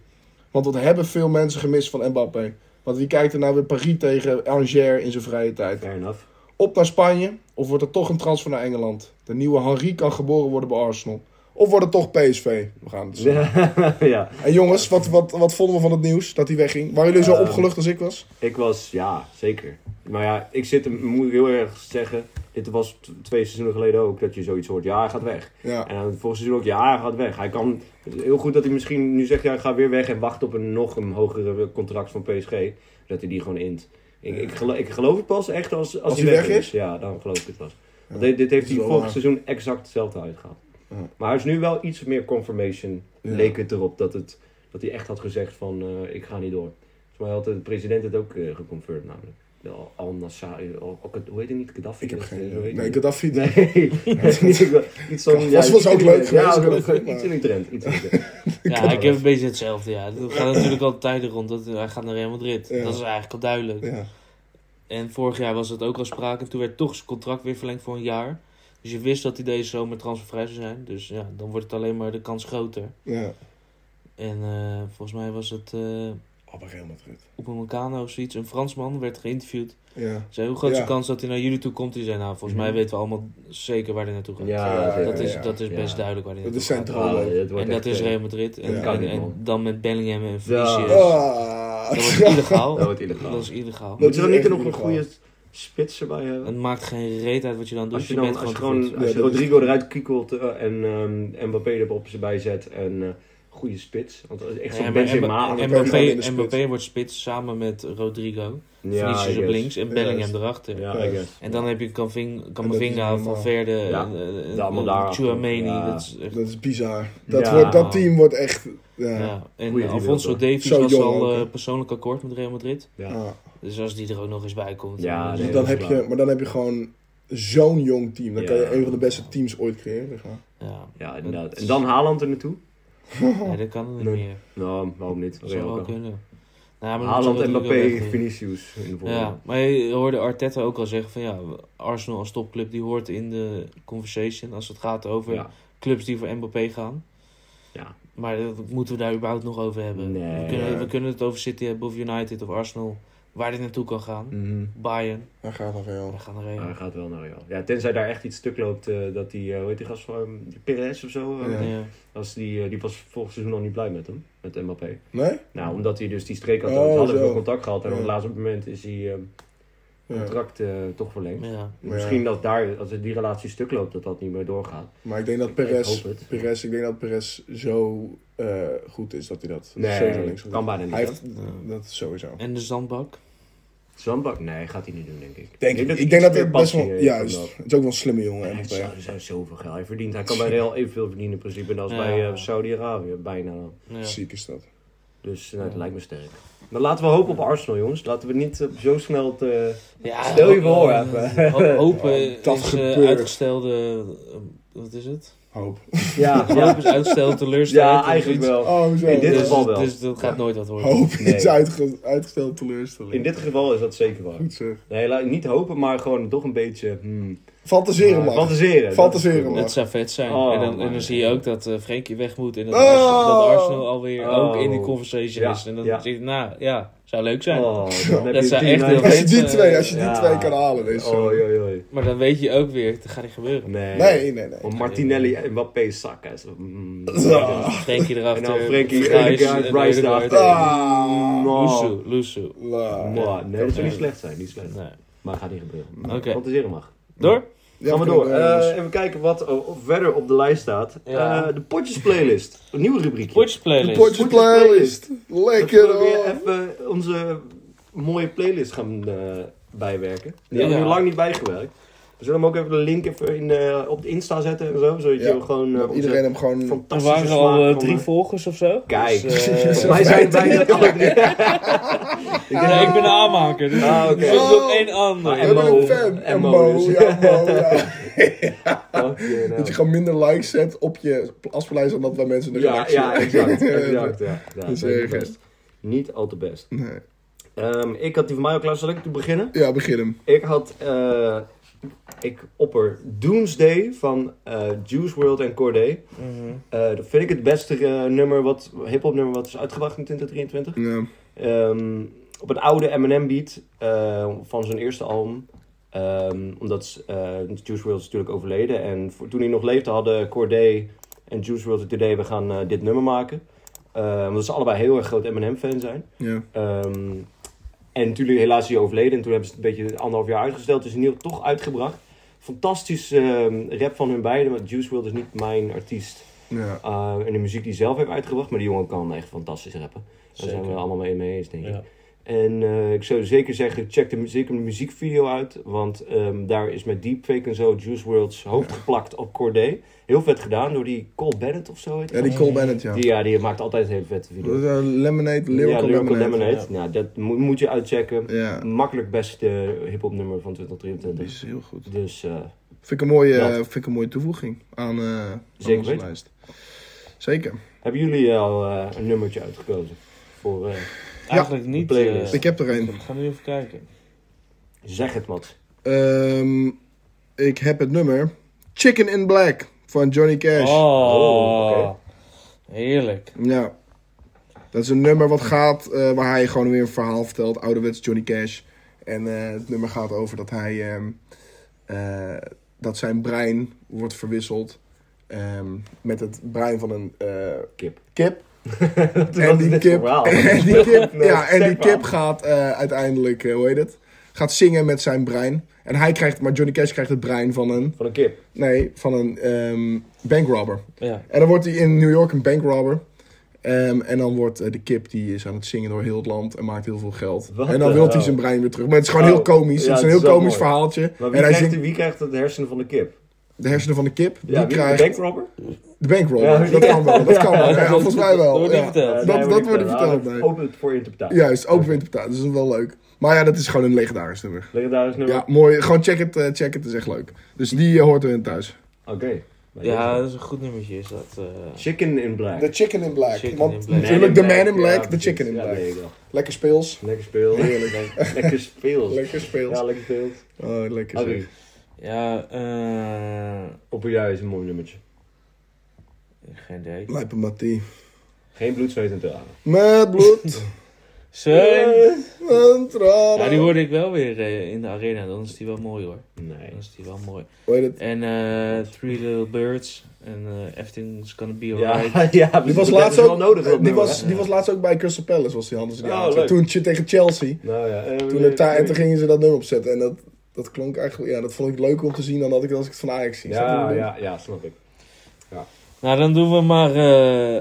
Want wat hebben veel mensen gemist van Mbappé. Want wie kijkt er nou weer Paris tegen Angers in zijn vrije tijd?
Fair enough.
Op naar Spanje, of wordt er toch een transfer naar Engeland? De nieuwe Henri kan geboren worden bij Arsenal. Of wordt het toch PSV? We gaan het zien.
ja,
En jongens, wat, wat, wat vonden we van het nieuws dat hij wegging? Waren jullie zo
Ehm,
opgelucht als ik was?
ik was, ja, zeker. Maar ja, ik zit, hem- moet ik heel erg zeggen, dit was t- twee seizoenen geleden ook, dat je zoiets hoort, ja, hij gaat weg.
Ja,
En dan volgens seizoen ook, ja, hij gaat weg. Hij kan, het is heel goed dat hij misschien nu zegt, ja, ik ga weer weg en wacht op een nog een hogere contract van PSG. Dat hij die gewoon int. Ik, ik, gelo- ik geloof het pas echt als, als,
hij weg is?
Ja, dan geloof ik het pas. Want dit, dit heeft
dat is
hij
wel
vorig
waar.
seizoen exact hetzelfde uitgehaald.
Ja.
Maar hij is nu wel iets meer confirmation,
Ja.
leek het erop, dat, het, dat hij echt had gezegd van, eh, ik ga niet door. Volgens mij had de president het ook eh, geconfirmed namelijk. De Al- Al-Nassar, Al- Al- hoe heet hij niet? Gaddafi?
ik heb
Dat- eh,
geen
hoe heet
idee.
hij?
Nee, Gaddafi. Nee.
Nee, iets van...
Dat was ook leuk geweest,
Ja,
leuk,
ook leuk,
maar-
iets in die trend. Iets in die trend.
Ja, ik heb een beetje hetzelfde. Ja. Het gaat natuurlijk al tijden rond. Dat, hij gaat naar Real Madrid.
Ja.
Dat is eigenlijk al duidelijk.
Ja.
En vorig jaar was dat ook al sprake. Toen werd toch zijn contract weer verlengd voor een jaar. Dus je wist dat hij deze zomer transfervrij zou zijn. Dus ja, dan wordt het alleen maar de kans groter.
ja.
En eh, volgens mij was het eh
Oh, bij Real Madrid.
Upamecano of zoiets. Een Fransman werd geïnterviewd.
Ja.
Zei, hoe groot is de
Ja.
kans dat hij naar jullie toe komt? Die zei, nou, volgens mij
Mhm.
weten we allemaal zeker waar hij naartoe gaat.
Ja,
Ja,
dat, is,
ja.
dat is best
Ja.
duidelijk waar hij
Dat
naartoe
is
gaat.
centraal.
En dat
eh,
is Real Madrid. En,
Ja.
Kan
en,
niet,
en
man.
dan met Bellingham en
Ja.
Vinicius.
Ah.
Dat wordt illegaal.
Dat wordt illegaal.
Dat is illegaal.
Dat
Moet
is
je dan niet
echt
nog een
illegaal.
goede spits erbij hebben?
Het maakt geen reet uit wat je dan doet.
Als je, dan,
bent
als je
te
gewoon
goed.
als je
Ja, dat is-
Rodrigo eruit kiekelt eh, en ehm Mbappé erop erbij zet en eh, goede spits. Want dat is echt zo'n
Ja, maar
Benzema.
Mba-
aan het-
Mbappé
Mbappé,
in de spits.
Mbappé wordt spits samen met Rodrigo.
I
Vinicius op
guess.
links en Bellingham
Juist.
erachter.
Ja, I guess.
En dan heb je Caving-
En dat
Camavinga,
is normaal.
Van Verde,
Ja,
en, eh, en,
de allemaal
eh,
daarachter.
Tchouameni.
Ja.
Dat is echt-
Dat is bizar. Dat,
Ja.
wordt, dat team wordt echt...
ja.
Ja. Ah.
En
Goeie
eh,
die
Alfonso
wilde.
Davies
Zo
was
jong
al
ook,
eh,
hè?
persoonlijk akkoord met Real Madrid.
Ja.
Ah.
Dus als die er ook nog eens bij komt.
Ja,
dan-
nee,
dan
dat is
heb
waar.
je, maar dan heb je gewoon zo'n jong team. Dan kan je
Ja.
een van de beste teams ooit creëren. Ja.
ja.
Ja, inderdaad. En dan Haaland er naartoe?
Nee, dat kan niet
Nee.
meer.
Nou, waarom niet?
Dat zou
Real
wel
kan.
kunnen. Ja, maar
Haaland,
dat is natuurlijk ook
Mbappé,
echt-
Vinicius in de volgende.
Ja, maar je hoorde Arteta ook al zeggen van ja, Arsenal als topclub die hoort in de conversation als het gaat over
Ja.
clubs die voor Mbappé gaan.
Ja.
Maar dat moeten we daar überhaupt nog over hebben.
Nee.
we, kunnen, we kunnen het over City hebben of United of Arsenal, waar dit naartoe kan gaan.
Mhm.
Bayern,
Daar gaat dat wel.
daar gaan er
Maar hij
heen.
gaat wel naar Real. Ja, tenzij daar echt iets stuk loopt eh, dat die, eh, hoe heet die gast van, eh, die Perez of zo? eh,
Ja.
Ja.
Als die, eh, die was vorig seizoen al niet blij met hem, met Mbappé.
Nee?
Nou, omdat hij dus die streek had,
Oh,
hadden we
zo.
wel contact gehad. En op het
Ja.
laatste moment is hij eh,
Ja.
contract eh, toch verlengd.
Ja.
Ja.
Misschien dat daar, als het die relatie stuk loopt, dat dat niet meer doorgaat.
Maar ik denk dat
Ik
Perez,
hoop het.
Perez, ik denk dat Perez zo eh, goed is dat hij dat
Nee,
zeker links
kan bijna niet.
Hij
hè?
heeft, dat is sowieso.
En de zandbak.
Zandbak? Nee, gaat hij niet doen, denk ik.
Denk, ik
dat
ik denk dat
iets
hij
meer
best wel,
passie eh, heeft dan
juist,
dat.
het is ook wel een slimme jongen.
Ja,
hè,
het
Mbappé.
zou, er zou zoveel geld hij verdient. Hij kan bij Real evenveel verdienen in principe als
Ja.
bij eh, Saudi-Arabië, bijna dan.
Ja.
Ziek is dat.
Dus nou, dat lijkt me sterk. Maar laten we hopen op Arsenal, jongens. Laten we niet eh, zo snel het... eh,
Ja,
Stel je voor,
eh,
even.
ho- Hopen
Dat
is eh,
gebeurt.
uitgestelde, eh, wat is het?
Hoop.
ja, ja,
Hopen is uitgestelde teleurstelling.
ja, eigenlijk wel.
Oh, zo.
In dit
Dus,
geval wel.
dus dat gaat nooit wat worden.
Hoop
Nee.
is uitge- uitgesteld teleurstelling.
In dit geval is dat zeker waar.
Goed zeg.
Nee, laat, niet hopen, maar gewoon toch een beetje... hmm,
Fantaseren
ah,
mag.
Fantaseren.
Fantaseren,
Dat-
man.
Het zou vet zijn.
Oh,
en, dan, en
man.
dan zie je ook dat eh Frenkie weg moet. En dat,
Oh.
Arsenal, dat Arsenal alweer
Oh.
ook in die conversation
Ja,
is. En dan
ja.
zie je, nou ja, zou leuk zijn.
Oh, dan heb
Dat
je
zou
een
echt
team
heel
uit-
Als je die
Dit, eh,
twee, als je die
ja.
twee kan halen, is zo.
Oei, oei, oei.
Maar dan weet je ook weer, dat gaat niet gebeuren.
Nee.
Nee, nee, nee.
Want Martinelli en Mbappé zakken. Zo, mm.
Frenkie
En
erachter.
dan Frenkie,
Rice,
Erdegaard,
en
Rice
Ødegaard.
erachter.
Ah.
Nou.
Lusu, Lusu.
La.
Nou, Nee, dat zou niet
Nee.
slecht zijn. Niet slecht.
Nee.
Maar gaat niet gebeuren.
Oké.
Fantaseren mag.
Door?
Ja, dus-
Gaan we
kunnen
door.
jongens.
Eh, even kijken wat er verder op de lijst staat.
Ja.
Eh, de potjes playlist. Een nieuw rubriekje.
Potjes
De
playlist.
potje playlist.
Dat we
Lekker
weer
hoor.
even eh, onze mooie playlist gaan eh, bijwerken. Die
Ja.
hebben we nu lang niet bijgewerkt. We zullen hem ook even de link even in, eh, op de Insta zetten en zo. Zodat
Ja,
je gewoon eh,
Dat
onze
Iedereen hem gewoon...
Er
fantastische
waren al eh,
smaak van,
drie
eh,
volgers of zo.
Kijk.
Dus, eh,
Volgens mij zijn bijna alle drie.
nee, eh, ik ben een aanmaker. Dus
Ah, oké.
er is nog één ander.
Ah,
We hebben
Mo.
een fan.
En
En
Mo
Mo.
dus.
Ja, Mo. ja.
Fucking hell.
Dat je gewoon minder likes zet op je afspeellijst dan dat wij mensen de
Ja,
reactie
ja, exact. exact ja. Ja,
is eh,
dat is niet
erg, hè?
best. Niet al te best.
Nee.
Ehm, ik had die van mij al klaar. Zal ik te beginnen?
Ja, begin hem.
Ik had... eh, ik opper Doomsday van eh, Juice WRLD en Corday.
Mhm.
Eh, dat vind ik het beste eh, nummer wat, hip-hop nummer wat is uitgebracht in 2023.
Ja.
Ehm, op een oude Eminem beat eh, van zijn eerste album. Ehm, omdat eh, Juice WRLD is natuurlijk overleden. En voor- toen hij nog leefde hadden Corday en Juice WRLD het idee... we gaan eh, dit nummer maken. Eh, omdat ze allebei heel erg groot Eminem-fan zijn.
Ja.
Ehm, en natuurlijk helaas is hij overleden. En toen hebben ze het een beetje anderhalf jaar uitgesteld. Dus nieuw toch uitgebracht. Fantastisch ehm, rap van hun beiden. Want Juice WRLD is niet mijn artiest.
Ja.
eh, en de muziek die hij zelf heeft uitgebracht. Maar die jongen kan echt fantastisch rappen. Daar zijn we
Zeker.
allemaal mee mee eens, denk ik.
Ja.
En eh, ik zou zeker zeggen, check de, mu- zeker de muziekvideo uit. Want ehm, daar is met deepfake en zo Juice WRLD's hoofd geplakt op Corday. Heel vet gedaan door die Cole Bennett of zo heet
Ja, die Cole Bennett, ja.
die. Die, ja, die maakt altijd hele vette
Dat is,
video's.
eh, lemonade,
ja,
lyrical
Lyrical
lemonade.
Lemonade. Mm. Nou, dat moet, moet je uitchecken.
Ja.
Makkelijk beste hip-hop nummer van
Die
2023.
is heel goed.
Dus eh,
Vind ik een mooie,
Ja.
eh, vind ik een mooie toevoeging aan, eh aan
Zeker
onze
weten.
lijst. Zeker.
hebben jullie al eh, een nummertje uitgekozen? Voor, eh,
Eigenlijk niet.
playlist.
eh,
Ik heb er een.
We gaan nu even kijken.
zeg het, Mats.
Ehm, ik heb het nummer Chicken in Black van Johnny Cash.
Oh,
oké.
heerlijk.
Ja. Dat is een nummer wat gaat, eh, waar hij gewoon weer een verhaal vertelt. Ouderwets Johnny Cash. En eh, het nummer gaat over dat hij, ehm, eh, dat zijn brein wordt verwisseld ehm, met het brein van een eh,
Kip.
kip.
Wat
En
is
die
dit
kip,
verhaal?
en die kip,
Nee,
ja, en
zeg
die
maar.
kip gaat eh, uiteindelijk, eh, hoe heet het? Gaat zingen met zijn brein. En hij krijgt, maar Johnny Cash krijgt het brein van een,
Van een kip.
nee, van een ehm, bankrobber.
Ja.
En dan wordt hij in New York een bankrobber. Ehm, en dan wordt eh, de kip, die is aan het zingen door heel het land en maakt heel veel geld.
Wat
en
de
dan wil hij
hel.
zijn brein weer terug. Maar het is gewoon
Oh,
heel komisch.
ja,
het is een
het
heel
is wel
komisch
mooi.
verhaaltje.
Maar wie
en hij
krijgt,
zingt
wie krijgt het hersenen van de kip?
de hersenen van de kip.
Ja,
die
wie
krijgt
de bankrobber?
de bankrobber.
Ja,
dat kan wel, dat kan wel. Ja, volgens mij wel.
Dat wordt niet
Ja.
Eh,
verteld.
dat- dat wordt niet verteld, nee.
Open het voor interpretatie.
Juist, open interpretatie. Dus dat is wel leuk. Maar ja, dat is gewoon een legendarisch nummer.
Legendarisch nummer.
Ja, mooi. Gewoon check het, eh, check het. is echt leuk. Dus die eh, hoort erin thuis.
Oké. Maar
Ja, dat is een goed nummertje is dat. eh.
Chicken in black.
The Chicken in Black.
Chicken
Want
in Black.
natuurlijk
in
The Man in Black,
ja,
The Chicken in
ja,
Black.
weet ik wel.
Lekker speels.
Lekker speel. lekker speels.
Lekker speels.
Ja, lekker speels.
Oh, lekker
Harry,
zeg.
Ja, eh.
op een jaar is een mooi nummertje.
Geen idee.
Lijpe Mattie.
Geen bloed, zweet en tranen.
Met bloed
Zijn!
en tranen.
Ja, die hoorde ik wel weer eh, in de arena. Dan is die wel mooi hoor.
Nee.
Dan is die wel mooi.
Hoe heet het?
En eh Three Little Birds. En eh Everything's Gonna Be
Ja,
Alright.
ja,
Die was,
dat
laatst
hebben ze
ook,
wel nodig. dat
die,
nummer,
was,
hè?
die was laatst ook bij Crystal Palace, was die Hans. die
Oh,
avond.
leuk.
Toen tegen Chelsea.
Nou ja. eh,
Toen, het daar- en toen gingen ze dat nummer opzetten. En dat, dat klonk eigenlijk... Ja, dat vond ik leuker om te zien dan dat ik, als ik het van Ajax zie. Snap je wat
Ja,
ik bedoel?
ja, ja, snap ik.
Nou, dan doen we maar eh,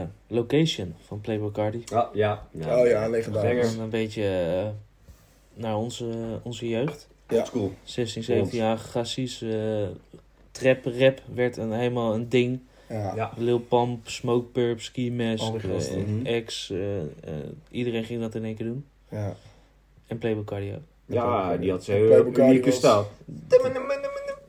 eh, Location van Playboy Cardi.
Ja, Ah, ja.
Oh ja, legendarisch.
Dan een beetje eh, naar onze, onze jeugd.
Ja.
School.
16, 17-jarige gasties. eh trap, rap werd een, helemaal een ding.
Ja.
Ja.
Lil Pump, Smoke Purp, Ski Mask,
Alle gasten.
eh,
Mhm.
X. eh, eh, iedereen ging dat in één keer doen.
ja.
En Playboy Cardio.
Ja, die had zijn
Playboy
hele
Cardi
unieke
was-
staal.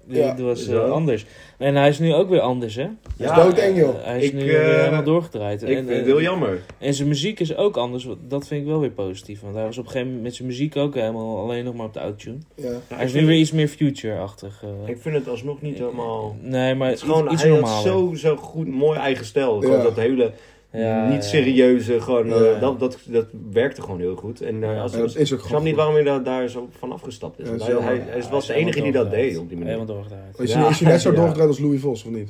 Ja,
dat was eh,
zo.
anders. En hij is nu ook weer anders, hè?
Dat is doodeng, joh.
Eh, hij is
Ik,
nu
eh,
weer helemaal doorgedraaid.
Ik
en,
vind het
eh,
heel jammer.
en zijn muziek is ook anders. wat- Dat vind ik wel weer positief. Want hij was op een gegeven moment met zijn muziek ook helemaal alleen nog maar op de outtune.
Ja.
hij is nu weer iets meer future-achtig. eh.
Ik vind het alsnog niet helemaal...
Nee, maar
Het is gewoon,
iets, iets
hij had
normaler.
zo, zo goed, mooi eigen stijl. Gewoon
Ja.
dat hele
Ja, ja.
niet serieuze, gewoon, eh,
Ja.
dat, dat, dat werkte gewoon heel goed. En eh, als,
En dat
ik
is ook
snap
gewoon
niet
goed.
waarom hij daar, daar zo van afgestapt is.
Ja,
Want
dat
hij,
is
hij,
jammer.
hij
Ja,
was de
hij is
enige die dat
helemaal
deed op die
Helemaal
manier.
doorgedraaid.
Is,
Ja.
hij, is hij net zo
Ja.
doorgedraaid als Louis Vos, of niet?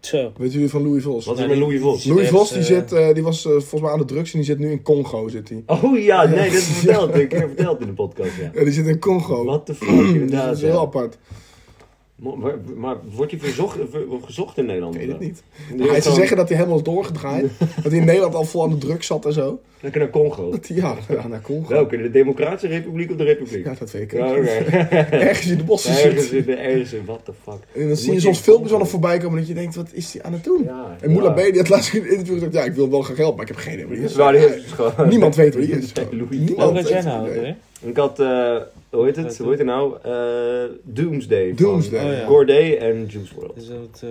Zo.
Weet jullie van Louis Vos?
Wat is er met Louis Vos?
Louis Vos, die,
eh,
zit, eh, die was eh, volgens mij aan de drugs en die zit nu in Congo, zit hij.
Oh ja, nee, dat is verteld. Een keer verteld in de podcast, ja.
Ja, die zit in Congo.
Wat de fuck,
Dus dat
inderdaad.
is heel
ja.
apart.
Mo- Maar, maar wordt hij verzocht, eh, ver- gezocht in Nederland?
Ik weet het niet.
Die
Hij
heeft
ze
gewoon-
zeggen dat hij helemaal is doorgedraaid. dat hij in Nederland al vol aan de drugs zat en zo.
Lekker naar Congo.
Dat hij, ja, ja, naar Congo.
Welke? De Democratische Republiek of de Republiek?
Ja, dat weet ik
Ja,
ook.
oké.
Ergens in de bossen
Ergens
zit.
in de ergens in, what the fuck.
En dan zie
Moet
je
je
soms
in
filmpjes
Congo.
al voorbij komen dat je denkt, wat is hij aan het doen?
Ja,
en Moula
ja.
B, die had laatst in een interview gezegd, ja, ik wil wel graag geld, maar ik heb geen idee waar die is.
Waar die is gewoon.
Niemand weet waar die is.
Nee, Louis.
Wat
Niemand
was
weet
jij
wie
nou?
die
ook
is.
weer?
Ik had, eh, hoe heet het? Hoe heet het nou? Eh, Doomsday.
Doomsday.
Van
Oh, ja.
Corday en Juice WRLD.
Is dat... eh,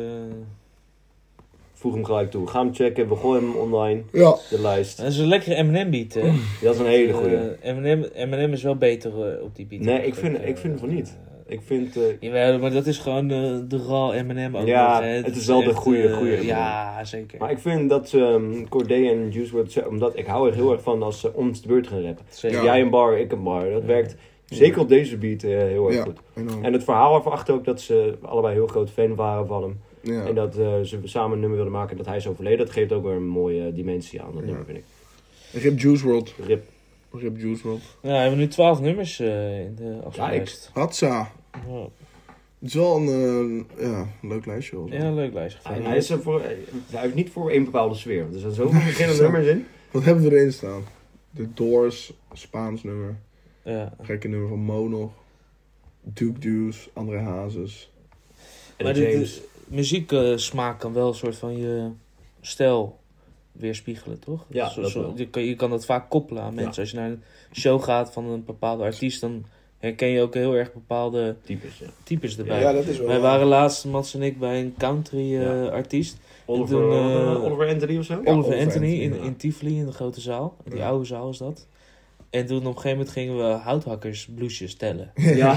Voeg hem gelijk toe. Ga hem checken. We gooien hem online.
Ja,
De lijst.
Dat is een lekkere M&M beat, hè?
Dat is een hele
Eh,
goede.
M&M M&M is wel beter eh, op die beat.
Nee, ik vind-
eh,
ik vind van niet.
eh,
Ik vind... eh,
Jawel, maar dat is gewoon eh, de raw M&M ook
Ja,
nog, hè.
het
Dat
is wel de
echt,
goede-
eh,
goede
Ja, zeker.
maar ik vind dat ehm Corday en Juice WRLD... ze- Omdat ik hou er heel erg van als ze om de beurt gaan rappen.
Zeker.
Ja.
Jij een bar, ik een bar. Dat werkt zeker op deze beat eh, heel erg
Ja.
goed.
enorm.
En het verhaal erachter ook dat ze allebei heel groot fan waren van hem. En
Ja.
dat eh, ze samen een nummer wilden maken dat hij is overleden. Dat geeft ook weer een mooie dimensie aan dat nummer, vind ik.
Rip Juice World.
Rip.
Rip Juice World.
Nou, we hebben nu 12 nummers eh, in de afspeellijst.
Hatsa.
Ja,
Het is wel een eh, ja, leuk lijstje. hoor.
ja, leuk lijstje.
Hij, hij is er voor, hij heeft niet voor één bepaalde sfeer. want Er zijn zoveel verschillende nummers in.
Wat hebben we erin staan? De Doors, Spaans nummer.
Ja.
Gekke nummer van Mo nog. Duke Deuce, André Hazes.
En
Maar de,
James.
muzieksmaak eh, kan wel een soort van je stijl weerspiegelen, toch?
Ja,
Zo-
dat
zo-
wel.
je, kan, je kan dat vaak koppelen aan mensen.
Ja.
Als je naar een show gaat van een bepaalde artiest, dan herken je ook heel erg bepaalde
types. Ja.
types erbij.
Ja, dat is wel.
Wij waren laatst, Mats en ik, bij een country eh,
Ja.
artiest.
Oliver,
toen, eh,
eh, Oliver Anthony of zo?
Ja,
Oliver
Oliver
Anthony,
Anthony,
in,
ja.
in Tivoli, in de grote zaal. Die
Ja.
oude zaal is dat. En toen op een gegeven moment gingen we houthakkersbloesjes tellen.
Ja.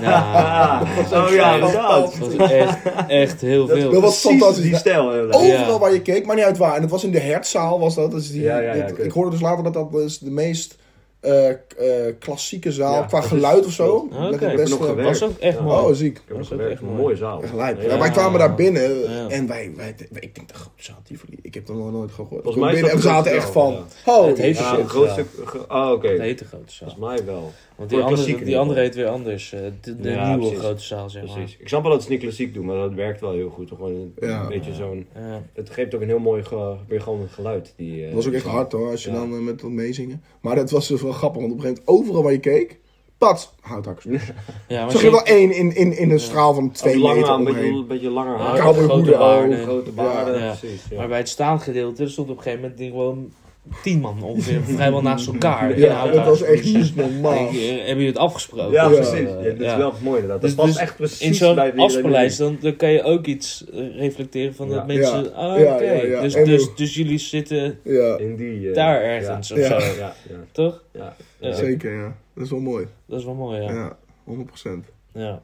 Nou,
oh ja, inderdaad.
fantastisch.
Dat was echt, echt heel
Dat-
veel.
Dat was
Precies
fantastisch.
die stijl. eh,
Overal
Oh. Ja.
waar je keek, maar niet uit waar. En dat was in de hertzaal, was dat. dat is die,
Ja, ja, ja,
dit-
oké.
ik hoorde dus later dat dat dus de meest eh, k- eh, klassieke zaal
Ja,
qua
dat
geluid
is-
of zo.
klopt.
Met
Ah, oké.
het
Ik
heb
beste-
nog gewerkt.
was ook echt
Ja.
mooi.
Oh, ziek.
Ik heb
Dat
nog
is ook
gewerkt.
echt
Een
mooi.
mooie zaal.
Gelijk.
Ja,
Ja, wij
ja.
kwamen daar binnen
Ja.
en wij, wij, ik denk de grote zaal Tivoli. Ik heb dat nog nooit gehoord. We
Volgens mij is
binnen en we
dat
zaten
de
echt
grote
van,
zaal,
oh,
Het heeft
Ja,
shit,
een groot
ja.
stuk. ge- Oh, oké.
Het heet een grote zaal.
Volgens mij wel.
Want
Voor
die andere,
klassieker
die
in
andere
ieder
heet weer anders. eh, De, de
Ja,
nieuwe
precies.
grote zaal, zeg maar.
Precies. Ik snap wel dat ze het niet klassiek doen, maar dat werkt wel heel goed. Gewoon een
Ja.
beetje zo'n...
Ja.
Het geeft ook een heel mooi ge- weer gewoon een geluid. Die, eh,
Het was ook echt
die-
hard hoor, als je
Ja.
dan eh, met dat meezingen. Maar dat was dus wel grappig, want op een gegeven moment overal waar je keek, pat, houthakkers.
Ja, maar
Zag je
zie-
wel één in, in, in een straal van
Als
twee
lang
meter
aan, een beetje,
omheen.
een beetje langer
Ja,
haar.
Cowboyhoeden
grote
ook.
baarden.
grote baarden,
Ja.
precies.
Maar
Ja.
bij het staand gedeelte stond op een gegeven moment die gewoon tien man ongeveer vrijwel naast elkaar. in een
Ja, dat
houthuis.
was echt niet normaal.
Denk je, hebben jullie het afgesproken?
Ja,
Ja.
precies. Ja, dat is
eh, Ja.
wel mooi inderdaad. Dat
Dus-
past
dus
echt precies
In zo'n
bij de
afspeellijst, dan, dan kan je ook iets eh, reflecteren van
Ja.
dat mensen...
Ja.
Ah, oké.
Ja, ja, ja.
Dus,
En
dus,
hoe-
dus jullie zitten
Ja,
In die, eh,
daar ergens
Ja,
of
Ja.
zo,
ja, ja,
toch?
ja.
Ja.
zeker, ja. Dat is wel mooi.
Dat is wel mooi, ja.
Ja, 100%.
ja.